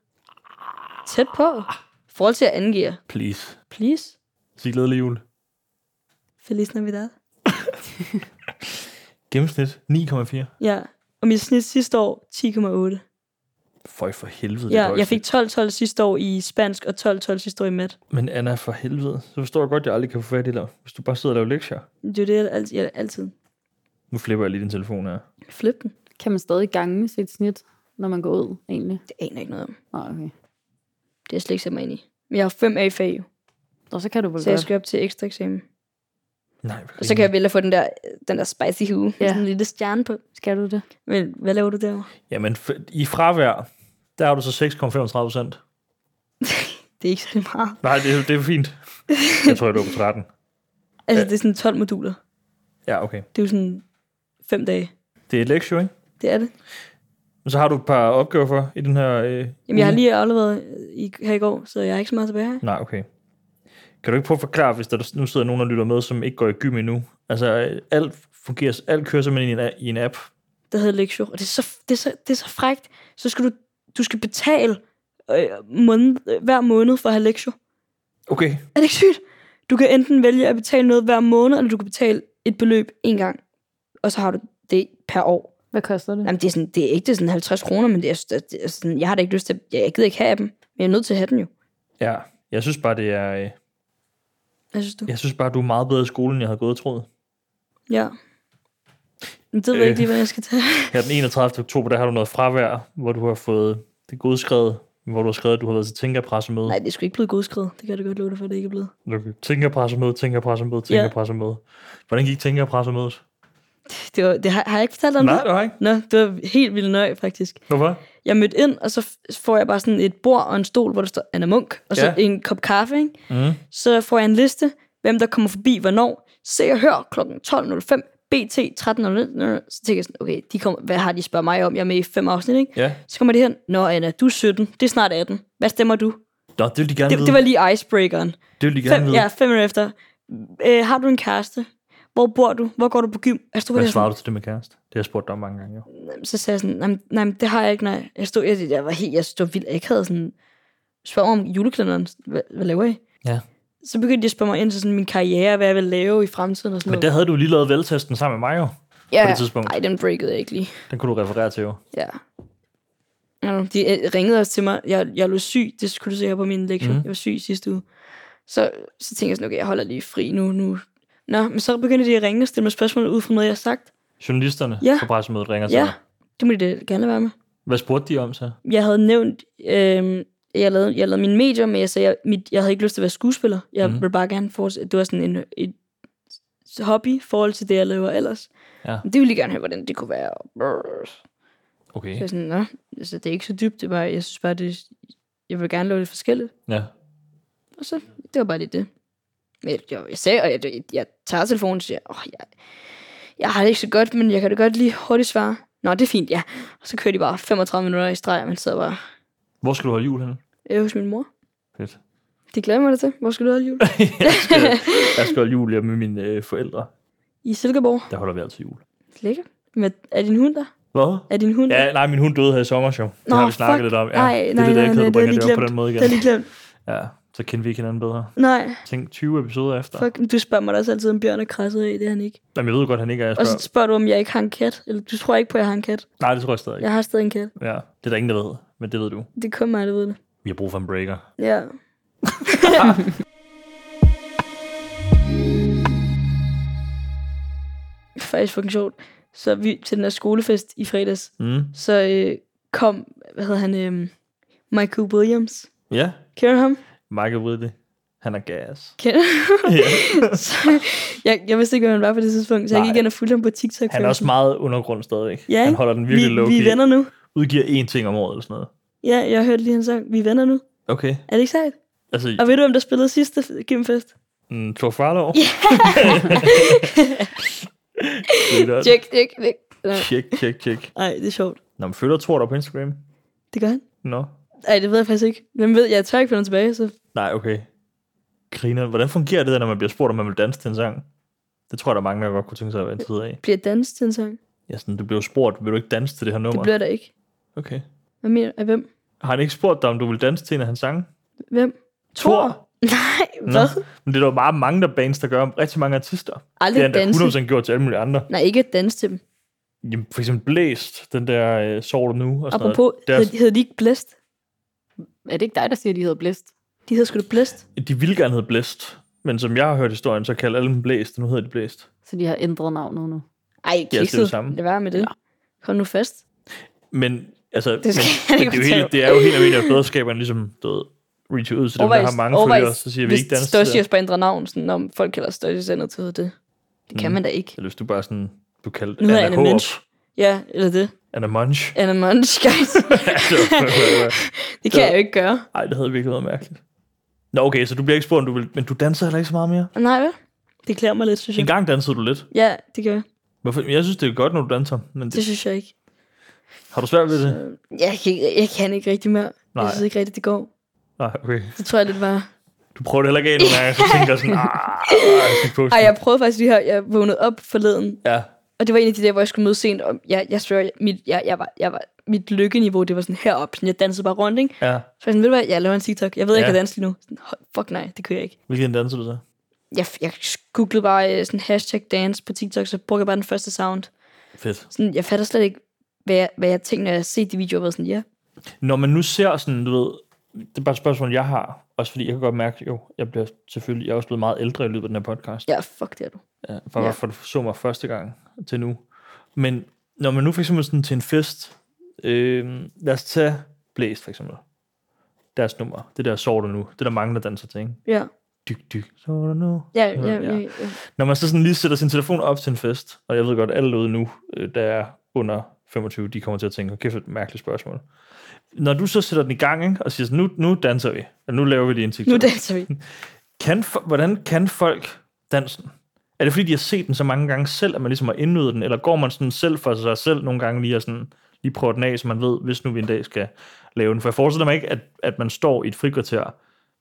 Speaker 2: Tæt på. I forhold til at angive.
Speaker 1: Please.
Speaker 2: Please.
Speaker 1: Sig glædelig jul.
Speaker 2: Feliz Navidad.
Speaker 1: Gennemsnit 9,4.
Speaker 2: Ja, og mit snit sidste år, 10,8.
Speaker 1: Føj for helvede. det er
Speaker 2: Ja,
Speaker 1: dårligt
Speaker 2: jeg fik 12-12 sidste år i spansk, og 12-12 sidste år i mat.
Speaker 1: snit. Men Anna, for helvede. Så forstår jeg godt, at jeg aldrig kan få fat i dig, hvis du bare sidder og laver lektier.
Speaker 2: Det er jo det, jeg altid, jeg altid
Speaker 1: Nu flipper jeg lige din telefon her.
Speaker 2: flip den.
Speaker 3: Kan man stadig gange sit snit, når man går ud, egentlig?
Speaker 2: Det aner jeg ikke noget om.
Speaker 3: Nå, okay.
Speaker 2: Det er jeg slet ikke sat mig ind i. Men jeg har 5 A i fag, jo.
Speaker 3: Nå, så kan du vel
Speaker 2: så jeg
Speaker 3: godt.
Speaker 2: skal op til ekstra eksamen.
Speaker 1: Nej,
Speaker 2: Og så kan jeg vælge at få den der, den der spicy hue. Ja.
Speaker 3: Ja.
Speaker 2: Sådan en lille stjerne på.
Speaker 3: Skal du det?
Speaker 2: Men hvad laver du derovre?
Speaker 1: Jamen, f- i fravær, der har du så 6,35 procent.
Speaker 2: Det er ikke så meget.
Speaker 1: Nej, det, er- det er fint. Jeg tror, jeg lå på 13.
Speaker 2: Altså,
Speaker 1: Ja.
Speaker 2: det er sådan 12 moduler.
Speaker 1: Ja, okay.
Speaker 2: Det er jo sådan 5 dage.
Speaker 1: Det er et lektie, ikke?
Speaker 2: Det er det.
Speaker 1: Men så har du et par opgaver for i den her... Øh,
Speaker 2: Jamen, jeg har
Speaker 1: uge.
Speaker 2: lige afleveret i, her i går, så jeg er ikke så meget tilbage.
Speaker 1: Nej, okay. Kan du ikke prøve at forklare, hvis der nu sidder nogen og lytter med, som ikke går i gym endnu? Altså, øh, alt fungerer, alt kører simpelthen i en, a- i en app.
Speaker 2: der hedder Lektio, og det er så, det er så, det er så frægt. Så skal du, du skal betale øh, måned, øh, hver måned for at have Lektio.
Speaker 1: Okay.
Speaker 2: Er det ikke sygt? Du kan enten vælge at betale noget hver måned, eller du kan betale et beløb en gang, og så har du det per år.
Speaker 3: Hvad koster det?
Speaker 2: Jamen, det er, sådan, det er ikke det er sådan 50 kroner, men det er, det er- det er sådan, jeg har da ikke lyst til, jeg, jeg gider ikke have dem, men jeg er nødt til at have den jo.
Speaker 1: Ja, jeg synes bare, det er... Øh,
Speaker 2: Hvad synes du?
Speaker 1: jeg synes bare, du er meget bedre i skolen, end jeg havde gået og troet.
Speaker 2: Ja. Men det ved jeg
Speaker 1: Øh.
Speaker 2: ikke lige, hvad jeg skal tage.
Speaker 1: Her den 31. oktober, der har du noget fravær, hvor du har fået det godskrevet, hvor du har skrevet, at du har været til tænkerpressemøde.
Speaker 2: Nej, det er sgu ikke blevet godskrevet. Det kan jeg da godt love dig for, at det ikke er blevet.
Speaker 1: Okay. Tænkerpressemøde, tænkerpressemøde,
Speaker 2: Ja.
Speaker 1: tænkerpressemøde. Hvordan gik tænkerpressemødet?
Speaker 2: Det, var, det har, har jeg ikke fortalt dig om det?
Speaker 1: det var ikke.
Speaker 2: Nå, det var helt vildt nøj, faktisk.
Speaker 1: Hvorfor?
Speaker 2: jeg mødte ind, og så f- får jeg bare sådan et bord og en stol, hvor der står Anna Munk, og så
Speaker 1: Ja.
Speaker 2: en kop kaffe, ikke?
Speaker 1: Mm.
Speaker 2: Så får jeg en liste, hvem der kommer forbi, hvornår. Se og hør kl. 12.05, BT 13.00. Så tænker jeg sådan, okay, de kommer, hvad har de spørget mig om? Jeg er med i fem afsnit, ikke?
Speaker 1: Ja.
Speaker 2: Så kommer de hen, Nå Anna, du er 17, det er snart 18. Hvad stemmer du?
Speaker 1: Nå, det vil de gerne
Speaker 2: Det,
Speaker 1: vide.
Speaker 2: det var lige icebreakeren.
Speaker 1: det vil de gerne
Speaker 2: Fem,
Speaker 1: vide.
Speaker 2: ja, fem minutter efter. Øh, har du en kæreste? Hvor bor du? Hvor går du på gym? Jeg stod bare
Speaker 1: Hvad
Speaker 2: der sådan,
Speaker 1: svarer du til det med kæreste? Det har jeg spurgt dig om mange gange, jo.
Speaker 2: så sagde jeg sådan, nej, nej, men det har jeg ikke, nej. Jeg stod, jeg, jeg var helt, jeg stod vildt, jeg havde sådan, spørg mig om juleklænderen, hvad, hvad laver I?
Speaker 1: Ja.
Speaker 2: Så begyndte de at spørge mig ind til sådan min karriere, hvad jeg vil lave i fremtiden og sådan
Speaker 1: Men der
Speaker 2: noget.
Speaker 1: havde du lige lavet veltesten sammen med mig, jo.
Speaker 2: ja,
Speaker 1: på det tidspunkt.
Speaker 2: Nej, den breakede jeg ikke lige.
Speaker 1: Den kunne du referere til, jo.
Speaker 2: Ja. Ja, De øh, ringede også til mig. Jeg, jeg lå syg. Det skulle du se her på min lektion.
Speaker 1: Mhm.
Speaker 2: Jeg var syg sidste uge. Så, så tænkte jeg sådan, okay, jeg holder lige fri nu. nu. Nå, men så begyndte de at ringe og stille mig spørgsmål ud fra noget, jeg har sagt.
Speaker 1: Journalisterne
Speaker 2: Ja.
Speaker 1: på pressemødet ringer til
Speaker 2: Ja,
Speaker 1: dig.
Speaker 2: Det må de da gerne være med.
Speaker 1: Hvad spurgte de om så?
Speaker 2: Jeg havde nævnt, øh, jeg, lavede, jeg lavede mine medier, men jeg sagde, jeg, mit, jeg havde ikke lyst til at være skuespiller. Jeg
Speaker 1: Mhm.
Speaker 2: mm. ville bare gerne fortsætte. Det var sådan en, en hobby i forhold til det, jeg laver ellers.
Speaker 1: Ja.
Speaker 2: Men det ville de gerne have, hvordan det kunne være. og brrr. Så
Speaker 1: Okay.
Speaker 2: jeg sådan, Nå, altså, det er ikke så dybt. Det er bare, jeg synes bare, det, jeg vil gerne lave det forskelligt.
Speaker 1: Ja.
Speaker 2: Og så, det var bare lige det. Men jeg, jeg, jeg sagde, og jeg, jeg, jeg tager telefonen og siger, åh, jeg, jeg har det ikke så godt, men jeg kan da godt lige hurtigt svare. Nå, det er fint, ja. Og så kører de bare 35 minutter i streg, og man sidder bare
Speaker 1: Hvor skal du holde jul henne?
Speaker 2: øh, hos min mor.
Speaker 1: Fedt.
Speaker 2: Det glæder jeg mig da til. Hvor skal du holde jul?
Speaker 1: jeg, skal, jeg skal holde jul hjemme med mine øh, forældre.
Speaker 2: I Silkeborg.
Speaker 1: Der holder vi altid jul.
Speaker 2: Lækkert. Med, er din hund der?
Speaker 1: Hvad?
Speaker 2: Er din hund der?
Speaker 1: Ja, nej, min hund døde her i sommer, jo. Det
Speaker 2: Nå,
Speaker 1: har vi snakket
Speaker 2: fuck.
Speaker 1: lidt om. Ja,
Speaker 2: Nej,
Speaker 1: det er
Speaker 2: nej,
Speaker 1: lidt
Speaker 2: nej,
Speaker 1: akavet,
Speaker 2: nej,
Speaker 1: at
Speaker 2: det har
Speaker 1: bringe
Speaker 2: jeg lige
Speaker 1: det op på
Speaker 2: glemt.
Speaker 1: den måde igen.
Speaker 2: Det er lige glemt.
Speaker 1: Ja, så kendte vi ikke hinanden bedre.
Speaker 2: Nej,
Speaker 1: Tænk 20 episoder efter.
Speaker 2: fuck. Du spørger mig da også altid, om Bjørn er krasset af. Det er han ikke.
Speaker 1: Jamen, jeg ved jo godt, han ikke er. Jeg
Speaker 2: Og så
Speaker 1: spørger.
Speaker 2: spørger du, om jeg ikke har en kat. Eller du tror ikke på, at jeg har en kat.
Speaker 1: Nej, det tror jeg stadig ikke.
Speaker 2: Jeg har stadig en kat.
Speaker 1: Ja. Det er der ingen, der ved, men det ved du.
Speaker 2: Det er kun mig, der ved det.
Speaker 1: Vi har brug for en breaker.
Speaker 2: Ja. Det er faktisk fucking sjovt. Så vi til den der skolefest i fredags,
Speaker 1: Mm.
Speaker 2: så øh, kom, hvad hedder han, øh, Michael Williams.
Speaker 1: Ja,
Speaker 2: Kender du ham?
Speaker 1: Michael Woodley. Han er gas.
Speaker 2: Kender
Speaker 1: Ja.
Speaker 2: så, jeg, jeg vidste ikke, hvem han var på det tidspunkt, så jeg
Speaker 1: Nej.
Speaker 2: gik igen og fulgte ham på TikTok.
Speaker 1: Han er også meget undergrund stadigvæk.
Speaker 2: Ja,
Speaker 1: han
Speaker 2: ikke?
Speaker 1: holder den
Speaker 2: vi,
Speaker 1: virkelig low
Speaker 2: vi er venner nu.
Speaker 1: Udgiver én ting om året eller sådan noget.
Speaker 2: Ja, jeg hørte lige hans sang. Vi er venner nu.
Speaker 1: Okay.
Speaker 2: Er det ikke sejt?
Speaker 1: Altså,
Speaker 2: Og ved du, hvem der spillede sidste gymfest?
Speaker 1: mm, Thor Farlow. Yeah.
Speaker 2: Tjek, tjek, tjek. Nej,
Speaker 1: Tjek, tjek, tjek.
Speaker 2: Ej, det er sjovt.
Speaker 1: Nå, men følger Thor dig på Instagram?
Speaker 2: Det gør han.
Speaker 1: Nå. No.
Speaker 2: Ej, det ved jeg faktisk ikke. Hvem ved, jeg tør ikke finde ham tilbage, så
Speaker 1: Nej, okay. Griner. Hvordan fungerer det, der, når man bliver spurgt, om man vil danse til en sang? Det tror jeg, der er mange, der godt kunne tænke sig at være interesseret i.
Speaker 2: bliver dans til en sang.
Speaker 1: Ja, sådan, du blev spurgt, vil du ikke danse til det her
Speaker 2: Det
Speaker 1: nummer?
Speaker 2: bliver der ikke.
Speaker 1: Okay.
Speaker 2: Hvad mener af hvem?
Speaker 1: Har han ikke spurgt dig, om du vil danse til en af hans sange?
Speaker 2: Hvem?
Speaker 1: Thor?
Speaker 2: Nej,
Speaker 1: Nå.
Speaker 2: hvad?
Speaker 1: Men det er der jo meget mange der bands, der gør om rigtig mange artister. Det
Speaker 2: Aldrig
Speaker 1: har han
Speaker 2: danse.
Speaker 1: da 100% gjort til alle mulige andre.
Speaker 2: Nej, ikke danse til dem.
Speaker 1: Jamen, for eksempel Blæst, den der øh, Sover du nu? Og sådan
Speaker 2: Apropos,
Speaker 1: Deres-
Speaker 2: hed, hed de ikke Blæst?
Speaker 3: Er det ikke dig, der siger, at de hedder Blæst?
Speaker 2: De hedder sgu da Blæst.
Speaker 1: noget. De ville gerne hedde Blæst, men som jeg har hørt historien, så kalder alle dem Blæst, og nu hedder de Blæst.
Speaker 3: Så de har ændret navnet nu.
Speaker 2: Ej,
Speaker 1: det er det
Speaker 2: kikset.
Speaker 1: samme.
Speaker 2: Lad være med det. Kom nu fast.
Speaker 1: Men altså, det,
Speaker 2: skal
Speaker 1: men,
Speaker 2: jeg
Speaker 1: men
Speaker 2: ikke
Speaker 1: det, er jo
Speaker 2: fortælle.
Speaker 1: helt, det er jo helt almindeligt, at fædreskaberne ligesom du ved, reacher ud til dem, der har mange følgere, så siger vi ikke dansk.
Speaker 2: Størst
Speaker 1: Jeg
Speaker 2: på ændre navn, sådan, om folk kalder Størst ændret til det. Det kan
Speaker 1: Mm.
Speaker 2: man da ikke.
Speaker 1: Eller hvis du bare sådan, du kaldte
Speaker 2: Nu hedder
Speaker 1: Anna
Speaker 2: Anna
Speaker 1: Hårup.
Speaker 2: Munch. Ja, eller det.
Speaker 1: Anna Munch.
Speaker 2: Anna Munch, guys.
Speaker 1: Altså,
Speaker 2: det kan
Speaker 1: Ja.
Speaker 2: jeg jo ikke gøre.
Speaker 1: Ej, det havde virkelig været mærkeligt. Nå, okay, så du bliver ikke spurgt, om du vil, men du danser heller ikke så meget mere.
Speaker 2: Nej, hvad? Det klæder mig lidt, synes
Speaker 1: En
Speaker 2: jeg.
Speaker 1: gang dansede du lidt.
Speaker 2: Ja, det gør jeg.
Speaker 1: Hvorfor? Jeg synes, det er godt, når du danser, men det,
Speaker 2: Det synes jeg ikke.
Speaker 1: har du svært ved det?
Speaker 2: Øh, Jeg kan, ikke- jeg kan ikke rigtig mere.
Speaker 1: Nej.
Speaker 2: Jeg synes ikke rigtigt, det går.
Speaker 1: Nej, okay.
Speaker 2: Det tror jeg lidt var...
Speaker 1: Du prøver det heller ikke af nogle gange, så tænker jeg sådan, ah,
Speaker 2: Ej, jeg prøvede faktisk lige her. Jeg vågnede op forleden,
Speaker 1: Ja,
Speaker 2: og det var en af de der, hvor jeg skulle møde sent. Og jeg, jeg svør, mit, jeg, jeg, var, jeg var, mit lykkeniveau, det var sådan heroppe. Sådan, jeg dansede bare rundt, ikke?
Speaker 1: ja.
Speaker 2: Så var jeg sådan, ved du hvad, jeg laver en TikTok. Jeg ved, jeg
Speaker 1: Ja.
Speaker 2: kan danse lige nu. Sådan, "Hold- fuck nej, det kan jeg ikke.
Speaker 1: Hvilken danser du så?
Speaker 2: Jeg, jeg googlede bare øh, sådan hashtag dance på TikTok, så brugte jeg bare den første sound.
Speaker 1: Fedt.
Speaker 2: Sådan, jeg fatter slet ikke, hvad jeg, hvad jeg tænkte, når jeg set de videoer, hvor jeg sådan, ja.
Speaker 1: Når man nu ser sådan, du ved, det er bare et spørgsmål, jeg har. Også fordi jeg kan godt mærke, jo, jeg bliver selvfølgelig, jeg er også blevet meget ældre i løbet af den her podcast.
Speaker 2: Ja, fuck det er du.
Speaker 1: Ja, fra, ja.
Speaker 2: Ja.
Speaker 1: fra du så mig første gang til nu. Men når man nu for eksempel sådan til en fest, øh, lad os tage Blæst for eksempel. Deres nummer, det der sover du nu, det der mange, der danser til, ikke?
Speaker 2: Ja,
Speaker 1: Dyk, dyk, sover du nu.
Speaker 2: ja,
Speaker 1: Ja,
Speaker 2: ja, ja.
Speaker 1: ja.
Speaker 2: ja, ja.
Speaker 1: Når man så sådan lige sætter sin telefon op til en fest, og jeg ved godt, alle ude nu, øh, der er under 25, de kommer til at tænke, "Hold kæft, et mærkeligt spørgsmål. Når du så sætter den i gang, ikke, og siger sådan, nu, nu danser vi, eller nu laver vi lige en TikTok.
Speaker 2: Nu danser vi.
Speaker 1: kan, fo- hvordan kan folk dansen? Er det fordi, de har set den så mange gange selv, at man ligesom har indnydet den, eller går man sådan selv for sig selv nogle gange lige og sådan, lige prøver den af, så man ved, hvis nu vi en dag skal lave den? For jeg forestiller mig ikke, at, at man står i et frikvarter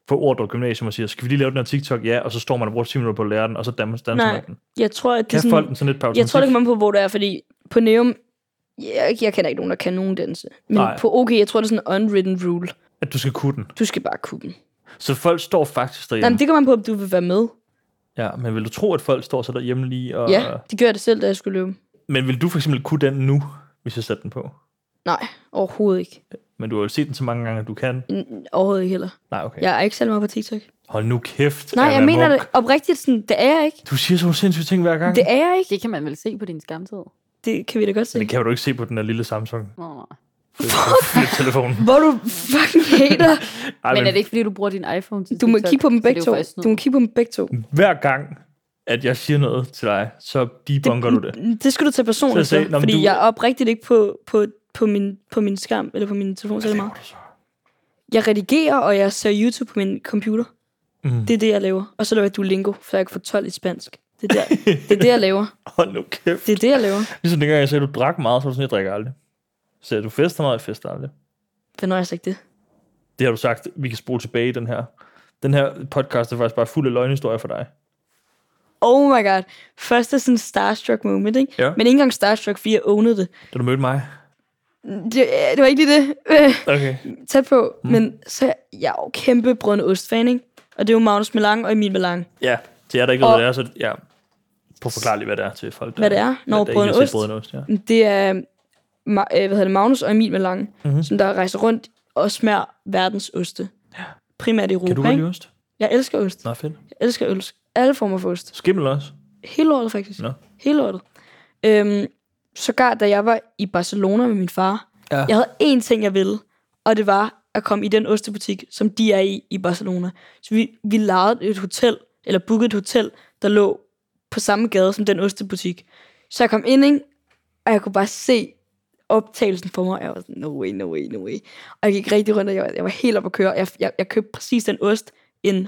Speaker 1: på Ordrup Gymnasium og siger, skal vi lige lave den her TikTok? Ja, og så står man og bruger 10 minutter på at lære den, og så danser, danser
Speaker 2: Nej.
Speaker 1: man den.
Speaker 2: Jeg tror, at det
Speaker 1: Kan
Speaker 2: er
Speaker 1: sådan,
Speaker 2: sådan...
Speaker 1: folk den sådan lidt på
Speaker 2: Jeg tror, det
Speaker 1: automatik?
Speaker 2: kommer an på, hvor du er, fordi på Neum, jeg, jeg kender ikke nogen, der kan nogen danse. Men
Speaker 1: Nej.
Speaker 2: Nej. på OK, jeg tror, det er sådan en unwritten rule.
Speaker 1: at du skal kunne den.
Speaker 2: Du skal bare kunne dem.
Speaker 1: Så folk står faktisk
Speaker 2: Nej,
Speaker 1: derhjemme.
Speaker 2: men
Speaker 1: Nej,
Speaker 2: det kommer an på, om du vil være med.
Speaker 1: det... Ja, men vil du tro, at folk står så derhjemme lige? Og...
Speaker 2: Ja, det gør jeg det selv, da jeg skulle løbe.
Speaker 1: Men vil du for eksempel kunne den nu, hvis jeg satte den på?
Speaker 2: Nej, overhovedet ikke.
Speaker 1: Men du har jo set den så mange gange, at du kan.
Speaker 2: N- Overhovedet ikke heller.
Speaker 1: Nej, okay.
Speaker 2: Jeg er ikke særlig meget på TikTok.
Speaker 1: Hold nu kæft.
Speaker 2: Nej,
Speaker 1: Anna
Speaker 2: jeg mener
Speaker 1: Munk.
Speaker 2: det oprigtigt sådan, det er jeg ikke.
Speaker 1: Du siger sådan nogle sindssyge ting hver gang.
Speaker 2: Det er jeg ikke.
Speaker 3: Det kan man vel se på din skamtid.
Speaker 2: det kan vi da godt se.
Speaker 1: Men det kan du ikke se på den der lille Samsung
Speaker 3: Nå, nej.
Speaker 1: telefon.
Speaker 2: Hvor du fucking hater.
Speaker 1: Ej,
Speaker 3: Men
Speaker 1: men
Speaker 3: er det ikke, fordi du bruger din iPhone til
Speaker 2: Du må
Speaker 3: TikTok?
Speaker 2: kigge på dem
Speaker 3: Så det er
Speaker 2: begge
Speaker 3: jo
Speaker 2: to.
Speaker 3: faktisk noget.
Speaker 2: Du må kigge på dem begge to.
Speaker 1: hver gang, at jeg siger noget til dig, så debunker du det.
Speaker 2: Det skal du tage personligt
Speaker 1: Så jeg
Speaker 2: så,
Speaker 1: sagde, "Nå, men
Speaker 2: fordi
Speaker 1: du-
Speaker 2: du... jeg er oprigtigt ikke på, på, på, min, på min skærm, eller på min telefon særlig meget. Jeg redigerer, og jeg ser YouTube på min computer.
Speaker 1: Mm.
Speaker 2: Det er det, jeg laver. Og så laver jeg Duolingo, for jeg kan få 12 i spansk. Det er, der, det er det, jeg laver.
Speaker 1: Hold nu kæft.
Speaker 2: Det er det, jeg laver.
Speaker 1: Ligesom dengang, jeg sagde, at du drak meget, så var du sådan, jeg drikker aldrig. Så sagde jeg, du fester meget, jeg fester aldrig.
Speaker 2: Hvornår har jeg sagt det?
Speaker 1: Det har du sagt, vi kan spole tilbage i den her. Den her podcast er faktisk bare fuld af løgnhistorier for dig.
Speaker 2: Oh my god. Første sådan starstruck moment, ikke?
Speaker 1: Ja.
Speaker 2: Men ikke engang starstruck, fordi jeg ownede det.
Speaker 1: Da du mødte mig.
Speaker 2: Det, det var ikke lige det. Øh,
Speaker 1: Okay.
Speaker 2: Tæt på. Mm. Men så jeg er jo kæmpe brødende ostfan, ikke? Og det er jo Magnus Melang og Emil Melang.
Speaker 1: Ja, til jer, der ikke ved,
Speaker 2: Og-
Speaker 1: hvad det er, så ja. Prøv at forklare lige, hvad det er til folk. Der,
Speaker 2: Hvad det er? Nå,
Speaker 1: Når
Speaker 2: brødende ost.
Speaker 1: Brødende ost, ja.
Speaker 2: Det er Ma- øh, hvad hedder det, Magnus og Emil Melang,
Speaker 1: Mhm.
Speaker 2: mm-hmm. som der rejser rundt og smager verdens oste. Primært i Europa,
Speaker 1: Kan du godt
Speaker 2: ikke?
Speaker 1: lide ost?
Speaker 2: Jeg elsker ost.
Speaker 1: Nå, fedt.
Speaker 2: Jeg elsker ost. Alle former for ost.
Speaker 1: Skimmel også.
Speaker 2: Hele året, faktisk.
Speaker 1: Nå.
Speaker 2: Hele året. Øhm, sågar da jeg var i Barcelona med min far,
Speaker 1: Ja.
Speaker 2: jeg havde én ting, jeg ville, og det var at komme i den ostebutik, som de er i i Barcelona. Så vi, vi lejede et hotel, eller bookede et hotel, der lå på samme gade som den ostebutik. Så jeg kom ind, ikke? og jeg kunne bare se optagelsen for mig. Jeg var sådan, no way, no way, no way. Og jeg gik rigtig rundt, og jeg var, jeg var helt oppe at køre. Jeg, jeg, jeg købte præcis den ost, en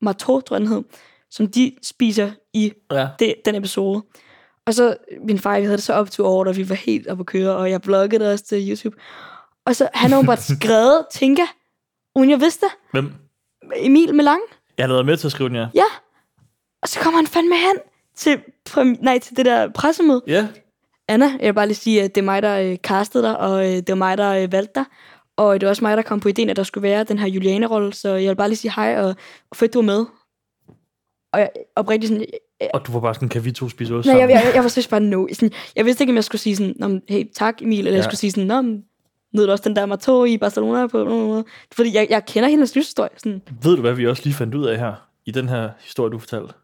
Speaker 2: marteau, tror jeg den hed, som de spiser i
Speaker 1: Ja.
Speaker 2: det, den episode. Og så, min far, vi havde det så op til over, og vi var helt oppe at køre, og jeg bloggede det også til YouTube. Og så, han har jo bare skrevet, tænker, uden jeg vidste det,
Speaker 1: Hvem?
Speaker 2: Emil Melang.
Speaker 1: Jeg har lavet med til at skrive den, ja.
Speaker 2: Ja. Og så kommer han fandme hen til, prem- nej, til det der pressemøde.
Speaker 1: Ja.
Speaker 2: Anna, jeg vil bare lige sige, at det er mig, der øh, castede dig, og øh, det var mig, der øh, valgte dig. Og det var også mig, der kom på ideen, at der skulle være den her Juliane-rolle, så jeg vil bare lige sige hej, og, og fedt, du er med. Og jeg, oprigtigt sådan,
Speaker 1: Og du var bare sådan, kan vi to spise ost
Speaker 2: Nej, jeg,
Speaker 1: sammen?
Speaker 2: jeg, jeg, jeg var seriøst bare no. Sådan, jeg vidste ikke, om jeg skulle sige sådan, "Nå, men, hey, tak Emil, eller ja.
Speaker 1: Ja.
Speaker 2: jeg skulle sige sådan, Nå, men, nød du også den der Marto i Barcelona på? Fordi jeg, jeg kender hendes livshistorie. Sådan,
Speaker 1: Ved du, hvad vi også lige fandt ud af her, i den her historie, du fortalte?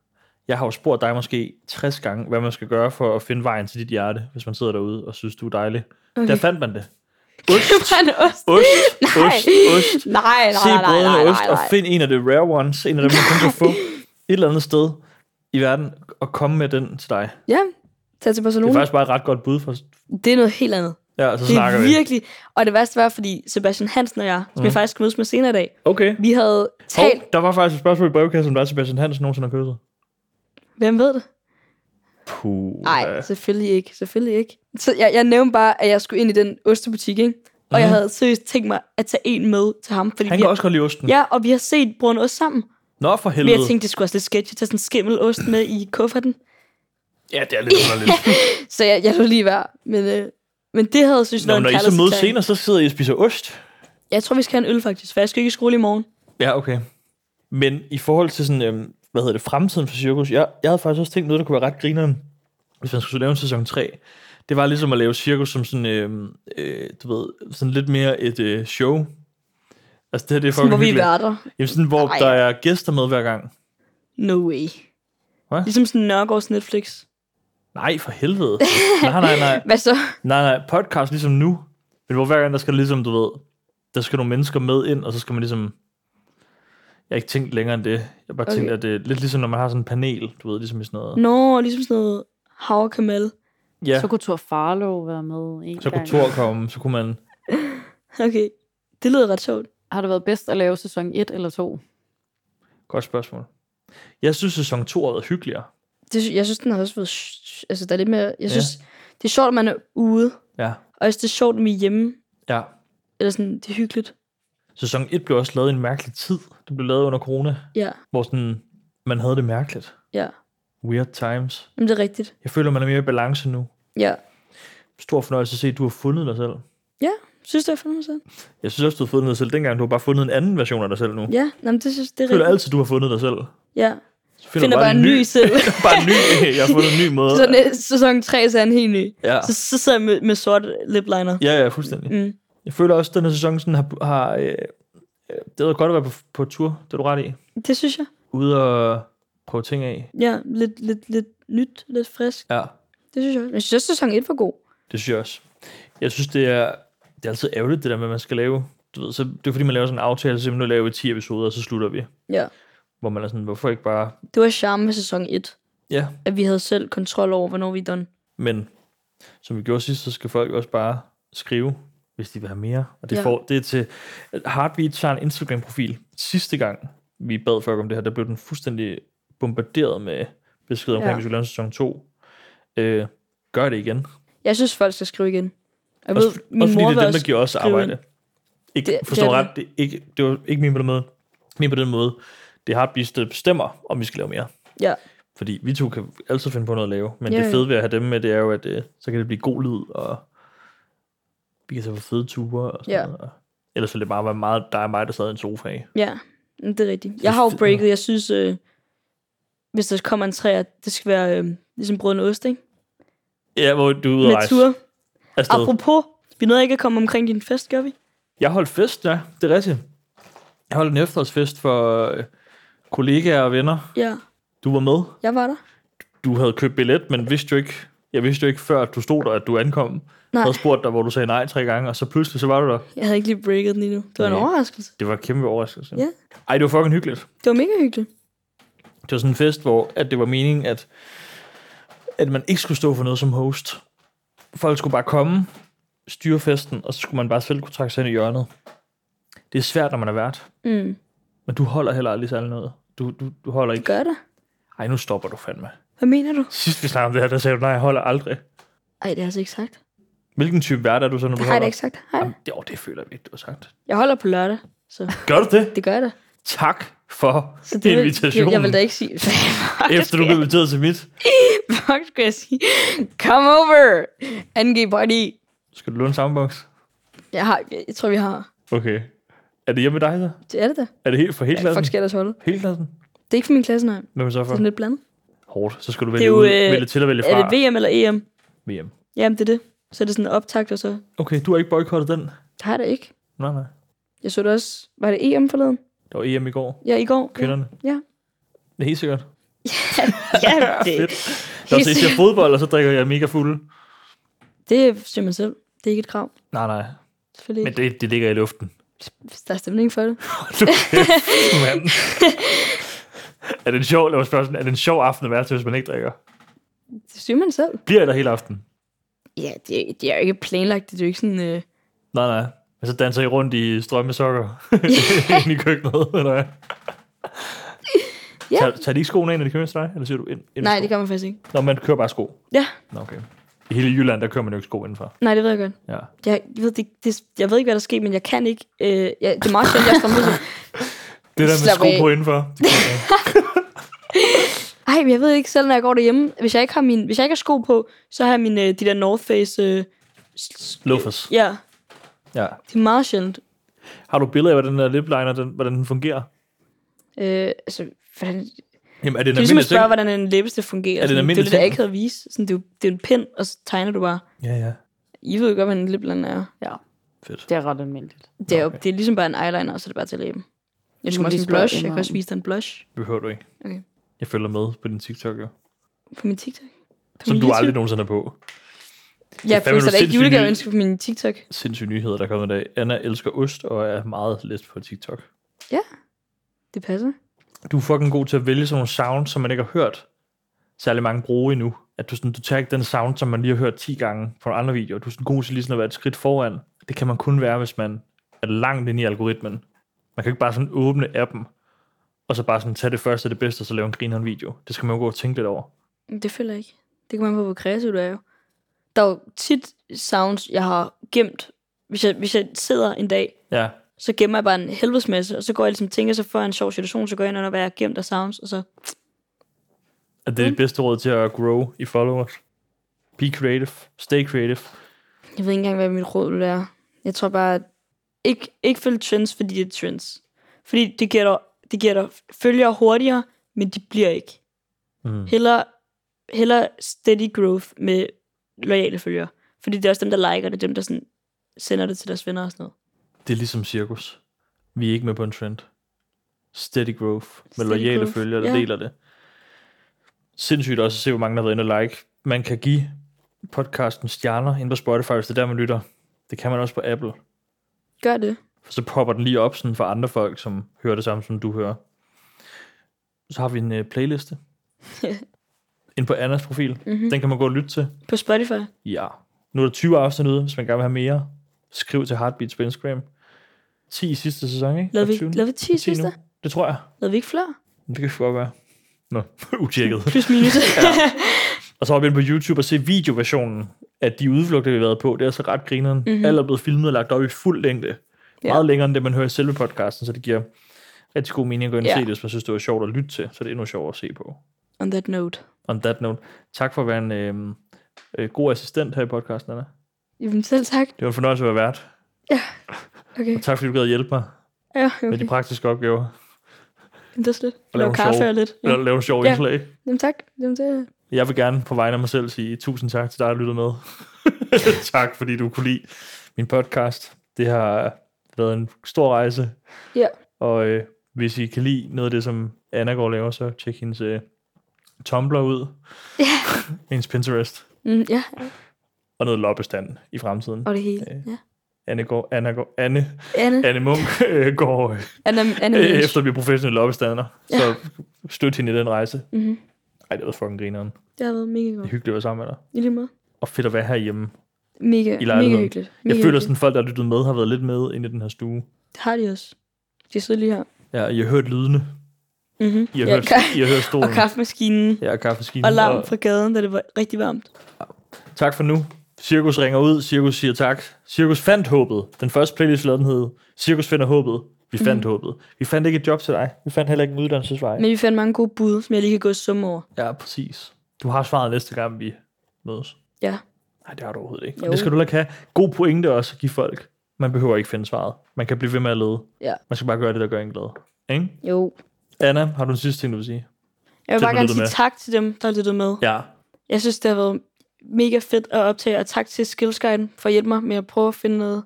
Speaker 1: Jeg har jo spurgt dig måske 60 gange, hvad man skal gøre for at finde vejen til dit hjerte, hvis man sidder derude og synes, du er dejlig. Okay. Der fandt man det. Ost,
Speaker 2: Køber en ost?
Speaker 1: ost,
Speaker 2: Nej.
Speaker 1: ost, ost.
Speaker 2: Nej, nej,
Speaker 1: Se
Speaker 2: nej, nej,
Speaker 1: brødrene
Speaker 2: nej,
Speaker 1: ost,
Speaker 2: nej,
Speaker 1: og
Speaker 2: nej.
Speaker 1: find en af de rare ones, en af dem, man kun kan få et eller andet sted i verden, og komme med den til dig.
Speaker 2: Ja, tag til
Speaker 1: Det er
Speaker 2: Barcelona.
Speaker 1: faktisk bare et ret godt bud for os.
Speaker 2: Det er noget helt andet.
Speaker 1: Ja, og så
Speaker 2: Det
Speaker 1: snakker
Speaker 2: er
Speaker 1: vi.
Speaker 2: virkelig... Og det værste var, fordi Sebastian Hansen og jeg, som mm. jeg faktisk skal mødes med senere i dag,
Speaker 1: Okay.
Speaker 2: vi havde talt...
Speaker 1: Hov, der var faktisk et spørgsmål i brevkassen, om der er Sebastian Hansen nogensinde har kysset.
Speaker 2: Hvem ved det?
Speaker 1: Puh.
Speaker 2: Nej, selvfølgelig ikke. Selvfølgelig ikke. Så jeg, jeg nævnte bare, at jeg skulle ind i den ostebutik, ikke? Og jeg
Speaker 1: Mhm.
Speaker 2: havde seriøst tænkt mig at tage en med til ham. Fordi
Speaker 1: Han
Speaker 2: vi
Speaker 1: kan også godt lide osten.
Speaker 2: Ja, og vi har set brun ost sammen.
Speaker 1: Nå, for
Speaker 2: Men
Speaker 1: helvede.
Speaker 2: jeg tænkte, det skulle også lidt sketchy at tage sådan en skimmelost med i kufferten.
Speaker 1: Ja, det er lidt underligt.
Speaker 2: Så jeg, jeg lå lige være. Men, øh, men det havde, synes jeg,
Speaker 1: Nå, men
Speaker 2: været
Speaker 1: når I
Speaker 2: en
Speaker 1: så mødes
Speaker 2: kærlighedserklæring.
Speaker 1: senere, så sidder I og spiser ost.
Speaker 2: Jeg tror, vi skal have en øl, faktisk. For jeg skal ikke i skole i morgen.
Speaker 1: Ja, okay. Men i forhold til sådan, øhm, hvad hedder det, fremtiden for cirkus, jeg, jeg havde faktisk også tænkt noget, der kunne være ret grineren, hvis man skulle lave en sæson 3. Det var ligesom at lave cirkus som sådan, øhm, øh, du ved, sådan lidt mere et øh, show. Altså det her, det er
Speaker 2: Sådan, hvor
Speaker 1: fucking
Speaker 2: vi er
Speaker 1: hyggeligt.
Speaker 2: værter.
Speaker 1: Jamen sådan, hvor
Speaker 2: Ej.
Speaker 1: der er gæster med hver gang.
Speaker 2: No way.
Speaker 1: Hvad?
Speaker 2: Ligesom sådan Nørgaards Netflix.
Speaker 1: Nej, for helvede. nej, nej, nej.
Speaker 2: Hvad så?
Speaker 1: Nej, nej, podcast ligesom nu. Men hvor hver gang, der skal ligesom, du ved, der skal nogle mennesker med ind, og så skal man ligesom... Jeg har ikke tænkt længere end det. Jeg har bare okay.
Speaker 2: Okay.
Speaker 1: tænkt, at det er lidt ligesom, når man har sådan en panel, du ved, ligesom i sådan noget.
Speaker 2: Nå, ligesom sådan noget Havre Kamal.
Speaker 1: Ja,
Speaker 3: Så
Speaker 1: så,
Speaker 3: kunne Thor Farlow være med en
Speaker 1: så kunne
Speaker 3: gang.
Speaker 1: Thor komme, så kunne man...
Speaker 2: Okay. Det lyder ret sjovt.
Speaker 3: Har det været bedst at lave sæson 1 eller 2?
Speaker 1: Godt spørgsmål. Jeg synes, sæson 2 har været hyggeligere.
Speaker 2: Det, sy- jeg synes, den har også været... sj- Altså, der er lidt mere... Jeg
Speaker 1: Ja.
Speaker 2: synes, det er sjovt, at man er ude.
Speaker 1: Ja,
Speaker 2: Og også det er sjovt, at vi er hjemme.
Speaker 1: ja.
Speaker 2: Eller sådan, det er hyggeligt.
Speaker 1: Sæson 1 blev også lavet i en mærkelig tid. Det blev lavet under corona,
Speaker 2: Ja,
Speaker 1: hvor sådan, man havde det mærkeligt.
Speaker 2: ja.
Speaker 1: Weird times.
Speaker 2: Jamen, det er rigtigt.
Speaker 1: Jeg føler, man er mere i balance nu.
Speaker 2: Ja.
Speaker 1: Stor fornøjelse at se, at du har fundet dig selv.
Speaker 2: Synes du, jeg fandt mig selv?
Speaker 1: Jeg synes også, du har fundet dig selv dengang. Du har bare fundet en anden version af dig selv nu.
Speaker 2: Ja, Nå, men det synes det er
Speaker 1: Jeg føler
Speaker 2: rigtigt.
Speaker 1: altid, du har fundet dig selv.
Speaker 2: Ja.
Speaker 1: Så
Speaker 2: Finder bare en ny selv.
Speaker 1: bare en ny. Jeg har fundet en ny måde.
Speaker 2: så næste sæson 3, så er han helt ny.
Speaker 1: ja.
Speaker 2: Så, så sidder jeg med, med sort lip liner.
Speaker 1: ja, ja, fuldstændig.
Speaker 2: Mm.
Speaker 1: Jeg føler også, at den her sæson sådan har... har øh, øh, det er godt at være på, på tur, det er du ret i.
Speaker 2: Det synes jeg.
Speaker 1: Ude og prøve ting af.
Speaker 2: Ja, lidt, lidt, lidt nyt, lidt frisk.
Speaker 1: Ja.
Speaker 2: det synes jeg også. Jeg synes også, sæson 1 var god.
Speaker 1: Det synes jeg også. Jeg synes, det er, det er altid ærgerligt, det der med, at man skal lave... Du ved, så det er fordi, man laver sådan en aftale, så siger man, nu laver vi 10 episoder, og så slutter vi.
Speaker 2: Ja.
Speaker 1: Hvor man er sådan, hvorfor ikke bare...
Speaker 2: Det var charme med sæson 1,
Speaker 1: Ja,
Speaker 2: at vi havde selv kontrol over, hvornår vi er done.
Speaker 1: men som vi gjorde sidst, så skal folk jo også bare skrive, hvis de vil have mere. Og det,
Speaker 2: Ja.
Speaker 1: ja. får, det er til... Heartbeat tager en Instagram-profil. Sidste gang, vi bad folk om det her, der blev den fuldstændig bombarderet med beskeder omkring,
Speaker 3: Ja.
Speaker 1: ja. vi skulle lave en sæson 2. Øh, gør det igen.
Speaker 2: Jeg synes, folk skal skrive igen. Og Jeg
Speaker 1: Også,
Speaker 2: ved, min
Speaker 1: også
Speaker 2: mor
Speaker 1: fordi det
Speaker 2: var
Speaker 1: er dem, der
Speaker 2: også-
Speaker 1: giver os
Speaker 2: skrive
Speaker 1: arbejde. Ikke,
Speaker 2: Det-
Speaker 1: det,
Speaker 2: det
Speaker 1: forstår
Speaker 2: er
Speaker 1: det,
Speaker 2: det.
Speaker 1: ret, det, er ikke, det var ikke min på den måde. Min på den måde, det har Beast, der bestemmer, om vi skal lave mere.
Speaker 2: Ja.
Speaker 1: Fordi vi to kan altid finde på noget at lave. Men
Speaker 2: Ja,
Speaker 1: ja, det
Speaker 2: ja.
Speaker 1: fede ved at have dem med, det er jo, at øh, så kan det blive god lyd, og vi kan tage på fede ture og sådan
Speaker 2: Ja.
Speaker 1: noget. Og Ellers ville det bare være meget dig og mig, der sad i en sofa af.
Speaker 2: Ja, men det er rigtigt. Jeg har jo
Speaker 1: fedt,
Speaker 2: breaket, jeg synes, øh, hvis der kommer en træer, det skal være øh, ligesom brød og ost, ikke?
Speaker 1: Ja, hvor du er ude at
Speaker 2: Med
Speaker 1: rejse
Speaker 2: tur.
Speaker 1: afsted.
Speaker 2: Apropos, vi nåede ikke at komme omkring din fest, gør vi?
Speaker 1: Jeg holdt fest, ja. Det er rigtigt. Jeg holdt en efterårsfest for øh, kollegaer og venner.
Speaker 2: Ja,
Speaker 1: Du var med.
Speaker 2: jeg var der.
Speaker 1: du havde købt billet, men vidste jo ikke, jeg vidste jo ikke før, at du stod der, at du ankom.
Speaker 2: Nej.
Speaker 1: Nej. havde spurgt dig, hvor du sagde nej tre gange, og så pludselig så var du der.
Speaker 2: Jeg havde ikke lige breaket den endnu. Det var en
Speaker 1: Nej.
Speaker 2: overraskelse.
Speaker 1: Det var en kæmpe overraskelse.
Speaker 2: Ja.
Speaker 1: Ej, det var fucking hyggeligt.
Speaker 2: Det var mega hyggeligt.
Speaker 1: Det var sådan en fest, hvor at det var meningen, at, at man ikke skulle stå for noget som host. Folk skulle bare komme, styre festen, og så skulle man bare selv kunne trække sig ind i hjørnet. Det er svært, når man er vært,
Speaker 2: Mm.
Speaker 1: men du holder heller aldrig særlig noget. Du, du, du holder ikke.
Speaker 2: Gør det?
Speaker 1: Ej, nu stopper du fandme.
Speaker 2: Hvad mener du?
Speaker 1: Sidst vi snakkede om det her, der sagde du, nej, jeg holder aldrig.
Speaker 2: Ej, det har jeg altså ikke sagt.
Speaker 1: Hvilken type vært er du så, når du
Speaker 2: Det har jeg
Speaker 1: holder?
Speaker 2: da ikke sagt. Hej.
Speaker 1: Jamen, det, åh, det føler jeg ikke, du har sagt.
Speaker 2: Jeg holder på lørdag, så
Speaker 1: Gør du det?
Speaker 2: det gør jeg da.
Speaker 1: Tak for
Speaker 2: Så
Speaker 1: det,
Speaker 2: vil-
Speaker 1: invitationen,
Speaker 2: Jeg, jeg vil da ikke sige...
Speaker 1: efter du blev inviteret til mit.
Speaker 2: Fuck, skulle jeg sige. Come over! NG party.
Speaker 1: Skal du låne samme boks?
Speaker 2: Jeg, har, jeg tror, vi har...
Speaker 1: Okay. Er det hjemme med dig så?
Speaker 2: Det er det da.
Speaker 1: Er det helt for hele
Speaker 2: Ja,
Speaker 1: klassen?
Speaker 2: fuck skal jeg ellers holde?
Speaker 1: Hele klassen?
Speaker 2: Det er ikke for min klasse, nej. Det
Speaker 1: Hvem er så
Speaker 2: er
Speaker 1: for?
Speaker 2: sådan lidt blandet.
Speaker 1: Hårdt. Så skal du
Speaker 2: Det er
Speaker 1: vælge,
Speaker 2: jo,
Speaker 1: ud,
Speaker 2: øh,
Speaker 1: vælge til og vælge fra.
Speaker 2: Er det VM eller EM?
Speaker 1: VM.
Speaker 2: Jamen, det er det. Så er det sådan en optakt, og så...
Speaker 1: Okay, du har ikke boykottet den?
Speaker 2: Det har jeg da ikke.
Speaker 1: Nej, nej.
Speaker 2: Jeg så det også... Var det EM forleden?
Speaker 1: Der var EM i går.
Speaker 2: Ja, i går.
Speaker 1: Kvinderne.
Speaker 2: Ja.
Speaker 1: Det er helt sikkert.
Speaker 2: Ja, det,
Speaker 1: Fedt. Når jeg ser fodbold, og så drikker jeg mega fuld.
Speaker 2: det siger man selv. Det er ikke et krav.
Speaker 1: Nej, nej.
Speaker 2: Selvfølgelig
Speaker 1: Men
Speaker 2: ikke.
Speaker 1: det, det ligger i luften.
Speaker 2: Hvis der er stemning for det.
Speaker 1: Du kæft, mand. er det en sjov, lad mig spørge sådan, er det en sjov aften at være til, hvis man ikke drikker?
Speaker 2: Det siger man selv.
Speaker 1: Bliver der hele aften?
Speaker 2: Ja, det, det er jo ikke planlagt. Det er jo ikke sådan... Øh...
Speaker 1: Nej, nej. Men så danser I rundt i strømmesokker ind i køkkenet, eller hvad?
Speaker 2: Ja.
Speaker 1: Ja. Tager, tager de ikke skoene ind, når de kører til dig? Eller siger du ind, ind
Speaker 2: Nej,
Speaker 1: sko?
Speaker 2: det gør man faktisk ikke.
Speaker 1: Nå, man kører bare sko.
Speaker 2: Ja.
Speaker 1: Nå, okay. I hele Jylland, der kører man jo ikke sko indenfor.
Speaker 2: Nej, det ved jeg godt.
Speaker 1: Ja.
Speaker 2: Jeg ved, det, det, jeg ved ikke, hvad der sker, men jeg kan ikke... Øh, jeg, det er meget sjældent, jeg strømmer sig.
Speaker 1: Det der med
Speaker 2: Slap
Speaker 1: sko
Speaker 2: af.
Speaker 1: på indenfor. Det kan jeg.
Speaker 2: Ej, men jeg ved ikke selv, når jeg går derhjemme. Hvis jeg ikke har, min, hvis jeg ikke har sko på, så har jeg mine, øh, de der North Face... Øh, s- s-
Speaker 1: Loafers.
Speaker 2: ja,
Speaker 1: Ja.
Speaker 2: det er meget sjældent.
Speaker 1: Har du billeder af, hvordan den der lip liner, den, hvordan den fungerer?
Speaker 2: Øh, altså, hvordan, det
Speaker 1: Jamen, er det en
Speaker 2: er ligesom at
Speaker 1: almindelig
Speaker 2: spørge,
Speaker 1: ting?
Speaker 2: hvordan en læbeste fungerer.
Speaker 1: Er det en
Speaker 2: Sådan, det er
Speaker 1: almindelig
Speaker 2: det, der
Speaker 1: ting?
Speaker 2: ikke havde vist. Sådan, det, er jo, det er jo en pind, og så tegner du bare.
Speaker 1: Ja, ja.
Speaker 2: I ved jo godt, hvad en lipland er.
Speaker 3: Ja,
Speaker 1: Fedt.
Speaker 3: det er ret almindeligt.
Speaker 2: Det er, jo,
Speaker 1: Okay.
Speaker 2: det er ligesom bare en eyeliner, og så er det bare til at læben. Jeg
Speaker 3: Du
Speaker 2: skal
Speaker 3: må
Speaker 2: også
Speaker 3: lige
Speaker 2: en blush.
Speaker 3: spørge
Speaker 2: Jeg
Speaker 3: Emma
Speaker 2: kan også
Speaker 3: om-
Speaker 2: vise dig en blush
Speaker 1: Det behøver du ikke.
Speaker 2: Okay.
Speaker 1: Jeg følger med på din TikTok, jo.
Speaker 2: på min TikTok. På
Speaker 1: Som
Speaker 2: min
Speaker 1: du
Speaker 2: YouTube.
Speaker 1: aldrig nogensinde er på.
Speaker 2: Jeg
Speaker 1: fandme nogle
Speaker 2: poster da ikke
Speaker 1: sindssyge
Speaker 2: julegaveønsker på min TikTok.
Speaker 1: Sindssyge nyheder, der kommer i dag. Anna elsker ost og er meget lidt på TikTok.
Speaker 2: Det passer.
Speaker 1: du er fucking god til at vælge sådan nogle sounds, som man ikke har hørt særlig mange bruge endnu. At du, sådan, du tager ikke den sound, som man lige har hørt 10 gange på nogle andre videoer. Du er sådan god til lige sådan at være et skridt foran. Det kan man kun være, hvis man er langt inde i algoritmen. Man kan ikke bare sådan åbne appen, og så bare sådan tage det første og det bedste, og så lave en grineren video. Det skal man jo gå og tænke lidt over.
Speaker 2: Det føler jeg ikke. Det kan man på, hvor kreativ du er jo. Der er jo tit sounds, jeg har gemt. Hvis jeg, hvis jeg sidder en dag,
Speaker 1: Ja,
Speaker 2: så gemmer jeg bare en helvedes masse, og så går jeg ligesom og tænker, så får jeg en sjov situation, så går jeg ind under, hvad jeg har gemt af sounds, og så...
Speaker 1: at det er det bedste råd til at grow i followers. Be creative. Stay creative.
Speaker 2: Jeg ved ikke engang, hvad mit råd vil være. Jeg tror bare, at ikke, ikke følge trends, fordi det er trends. Fordi det giver dig, det giver dig følgere hurtigere, men de bliver ikke.
Speaker 1: Mm.
Speaker 2: Heller, heller steady growth med loyale følgere. Fordi det er også dem, der liker det, dem, der sådan sender det til deres venner og sådan noget.
Speaker 1: Det er ligesom cirkus. Vi er ikke med på en trend. Steady growth. Med
Speaker 2: Steady
Speaker 1: lojale
Speaker 2: growth,
Speaker 1: følgere, der
Speaker 2: ja.
Speaker 1: deler det. Sindssygt også at se, hvor mange der har været inde og like. Man kan give podcasten stjerner ind på Spotify, hvis det er der, man lytter. Det kan man også på Apple.
Speaker 2: Gør det.
Speaker 1: For så popper den lige op sådan for andre folk, som hører det samme, som du hører. Så har vi en øh, playliste. ind på Annas profil.
Speaker 2: Mhm.
Speaker 1: Den kan man gå og lytte til.
Speaker 2: På Spotify.
Speaker 1: Ja. Nu er der 20 afsnit ude, hvis man gerne vil have mere. Skriv til Heartbeats på Instagram. 10 i sidste sæson, ikke?
Speaker 2: Lavede
Speaker 1: Og
Speaker 2: vi,
Speaker 1: 20.
Speaker 2: lavede vi 10
Speaker 1: 10 nu.
Speaker 2: sidste?
Speaker 1: Det tror jeg.
Speaker 2: Lavede vi ikke flere?
Speaker 1: Det kan godt være. Nå, utjekket.
Speaker 2: Plus minus.
Speaker 1: Og så var vi inde på YouTube og se videoversionen af de udflugter, vi har været på. Det er altså ret grineren. Mm-hmm. Alt er blevet filmet og lagt op i fuld længde.
Speaker 2: Mhm. Ja.
Speaker 1: Ja. Meget længere end det, man hører i selve podcasten, så det giver rigtig god mening at gå ind og
Speaker 2: Ja.
Speaker 1: se det, hvis man synes, det var sjovt at lytte til. Så det er endnu sjovere at se på.
Speaker 2: On that note.
Speaker 1: On that note, tak for at være en øh, øh, god assistent her i podcasten, Anna.
Speaker 2: Jamen selv tak.
Speaker 1: Det var en fornøjelse at være vært.
Speaker 2: Okay.
Speaker 1: Og tak fordi du gad at hjælpe mig
Speaker 2: Ja,
Speaker 1: med
Speaker 2: okay.
Speaker 1: de praktiske opgaver.
Speaker 2: Jamen, det er slet.
Speaker 1: lave
Speaker 2: Lav
Speaker 1: en
Speaker 2: kaffe
Speaker 1: sjov-
Speaker 2: og lidt.
Speaker 1: Eller
Speaker 2: Ja.
Speaker 1: ja. lave sjove
Speaker 2: Ja.
Speaker 1: ja. indslag.
Speaker 2: Jamen tak. Jamen, det...
Speaker 1: Jeg vil gerne på vegne af mig selv sige tusind tak til dig, der lyttede med. tak, fordi du kunne lide min podcast. Det har været en stor rejse.
Speaker 2: Ja.
Speaker 1: Og øh, hvis I kan lide noget af det, som Anna går og laver, så tjek hendes øh, Tumblr ud. Ja. hendes Pinterest.
Speaker 2: Mm, ja,
Speaker 1: Og noget loppestand i fremtiden.
Speaker 2: og det hele. Ja.
Speaker 1: Anne går, Anna går, Anne,
Speaker 2: Anne.
Speaker 1: Anne Munk øh, går øh,
Speaker 2: Anne, Anne
Speaker 1: øh,
Speaker 2: Mensch.
Speaker 1: efter at blive professionel loppestander.
Speaker 2: Ja.
Speaker 1: Så støt hende i den rejse.
Speaker 2: Mhm.
Speaker 1: Ej, det var fucking grineren. Det
Speaker 2: Det har været mega
Speaker 1: er
Speaker 2: godt.
Speaker 1: hyggeligt at være sammen med dig.
Speaker 2: I lige måde.
Speaker 1: Og fedt at være herhjemme.
Speaker 2: Mega,
Speaker 1: I
Speaker 2: mega
Speaker 1: lejligheden.
Speaker 2: hyggeligt. Mega
Speaker 1: Jeg føler
Speaker 2: hyggeligt.
Speaker 1: sådan, folk, der har lyttet med, har været lidt med inde i den her stue.
Speaker 2: Det har de også. De sidder lige her.
Speaker 1: Ja, I har hørt lydene.
Speaker 2: Mm-hmm.
Speaker 1: I har,
Speaker 2: Ja,
Speaker 1: hørt,
Speaker 2: ka-
Speaker 1: I har hørt stolen.
Speaker 2: og kaffemaskinen.
Speaker 1: Ja, og kaffeskinen.
Speaker 2: Og larm fra gaden, da det var rigtig varmt.
Speaker 1: tak for nu. Cirkus ringer ud. Cirkus siger tak. Cirkus fandt håbet. Den første playlist, vi lavede, den hed Cirkus finder håbet. Vi
Speaker 2: Mhm.
Speaker 1: fandt mm. håbet. Vi fandt ikke et job til dig. Vi fandt heller ikke en uddannelsesvej.
Speaker 2: Men vi fandt mange gode bud, som jeg lige kan gå summe over.
Speaker 1: Ja, præcis. Du har svaret næste gang, vi mødes.
Speaker 2: Ja.
Speaker 1: Nej, det har du overhovedet ikke.
Speaker 2: Jo.
Speaker 1: Jo. Det skal du heller ikke have. God pointe også at give folk. Man behøver ikke finde svaret. Man kan blive ved med at lede.
Speaker 2: Ja.
Speaker 1: Man skal bare gøre det, der gør en glad. Ikke?
Speaker 2: Jo.
Speaker 1: Anna, har du en sidste ting, du vil sige?
Speaker 2: Jeg vil
Speaker 1: Til
Speaker 2: bare
Speaker 1: at
Speaker 2: gerne
Speaker 1: lytte
Speaker 2: sige
Speaker 1: med.
Speaker 2: tak til dem, der har lyttet med.
Speaker 1: Ja.
Speaker 2: Jeg synes, det har været mega fedt at optage, og tak til Skillsguiden for at hjælpe mig med at prøve at finde noget,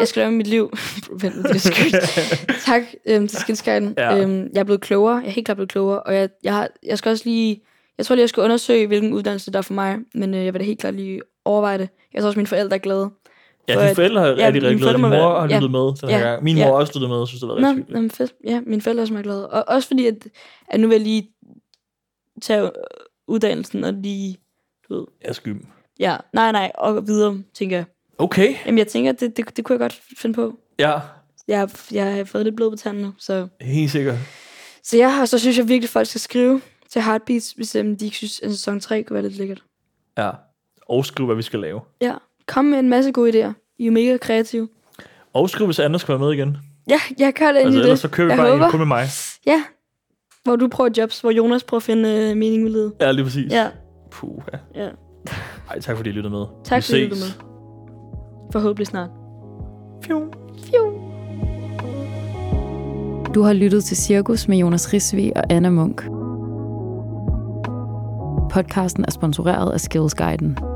Speaker 2: jeg skal lave i mit liv. Vent, det er skørt. tak øhm, til Skillsguiden.
Speaker 1: Ja.
Speaker 2: Øhm, jeg er blevet klogere. Jeg er helt klart blevet klogere, og jeg, jeg, har, jeg skal også lige... Jeg tror lige, jeg skal undersøge, hvilken uddannelse der er for mig, men øh, jeg vil da helt klart lige overveje det. Jeg tror også, mine forældre er glade. For
Speaker 1: Ja,
Speaker 2: at-
Speaker 1: dine forældre har
Speaker 2: ja,
Speaker 1: ja, rigtig,
Speaker 2: mine
Speaker 1: rigtig glade.
Speaker 2: forældre
Speaker 1: Din
Speaker 2: må
Speaker 1: mor
Speaker 2: være-
Speaker 1: har
Speaker 2: ja.
Speaker 1: lyttet med den her
Speaker 2: Ja.
Speaker 1: gang. Min
Speaker 2: Ja.
Speaker 1: mor har også lyttet med, og synes, det var rigtig
Speaker 2: Nå,
Speaker 1: hyggeligt.
Speaker 2: nå, men fedt. Ja, mine forældre er også meget glade. Og også fordi, at, at nu vil jeg lige tage øh, uddannelsen og lige... Du ved,
Speaker 1: Jeg er skym.
Speaker 2: ja, nej, nej, og videre, tænker jeg.
Speaker 1: Okay.
Speaker 2: Jamen, jeg tænker, det, det, det kunne jeg godt finde på.
Speaker 1: Ja,
Speaker 2: Jeg, har- jeg har fået lidt blod på tanden nu, så...
Speaker 1: helt sikkert.
Speaker 2: Så jeg har, så synes jeg virkelig, folk skal skrive til Heartbeats, hvis øhm, de ikke synes, at sæson 3 kunne være lidt lækkert.
Speaker 1: Ja. Og skriv, hvad vi skal lave.
Speaker 2: Ja, kom med en masse gode idéer. I er jo mega kreative.
Speaker 1: Og skriv, hvis Anders skal være med igen.
Speaker 2: Ja, jeg gør det
Speaker 1: Altså,
Speaker 2: altså,
Speaker 1: ellers
Speaker 2: det.
Speaker 1: så kører vi
Speaker 2: jeg
Speaker 1: bare
Speaker 2: håber.
Speaker 1: en kun med mig.
Speaker 2: Ja, hvor du prøver jobs, hvor Jonas prøver at finde øh, mening med livet.
Speaker 1: Ja, lige præcis.
Speaker 2: Ja,
Speaker 1: Puh, ja.
Speaker 2: ja.
Speaker 1: Ej, tak fordi I lyttede med.
Speaker 2: Tak
Speaker 1: vi
Speaker 2: fordi
Speaker 1: ses.
Speaker 2: I lyttede med. Forhåbentlig snart.
Speaker 1: Fjum.
Speaker 3: Du har lyttet til Cirkus med Jonas Risvi og Anna Munk. Podcasten er sponsoreret af Skillsguiden.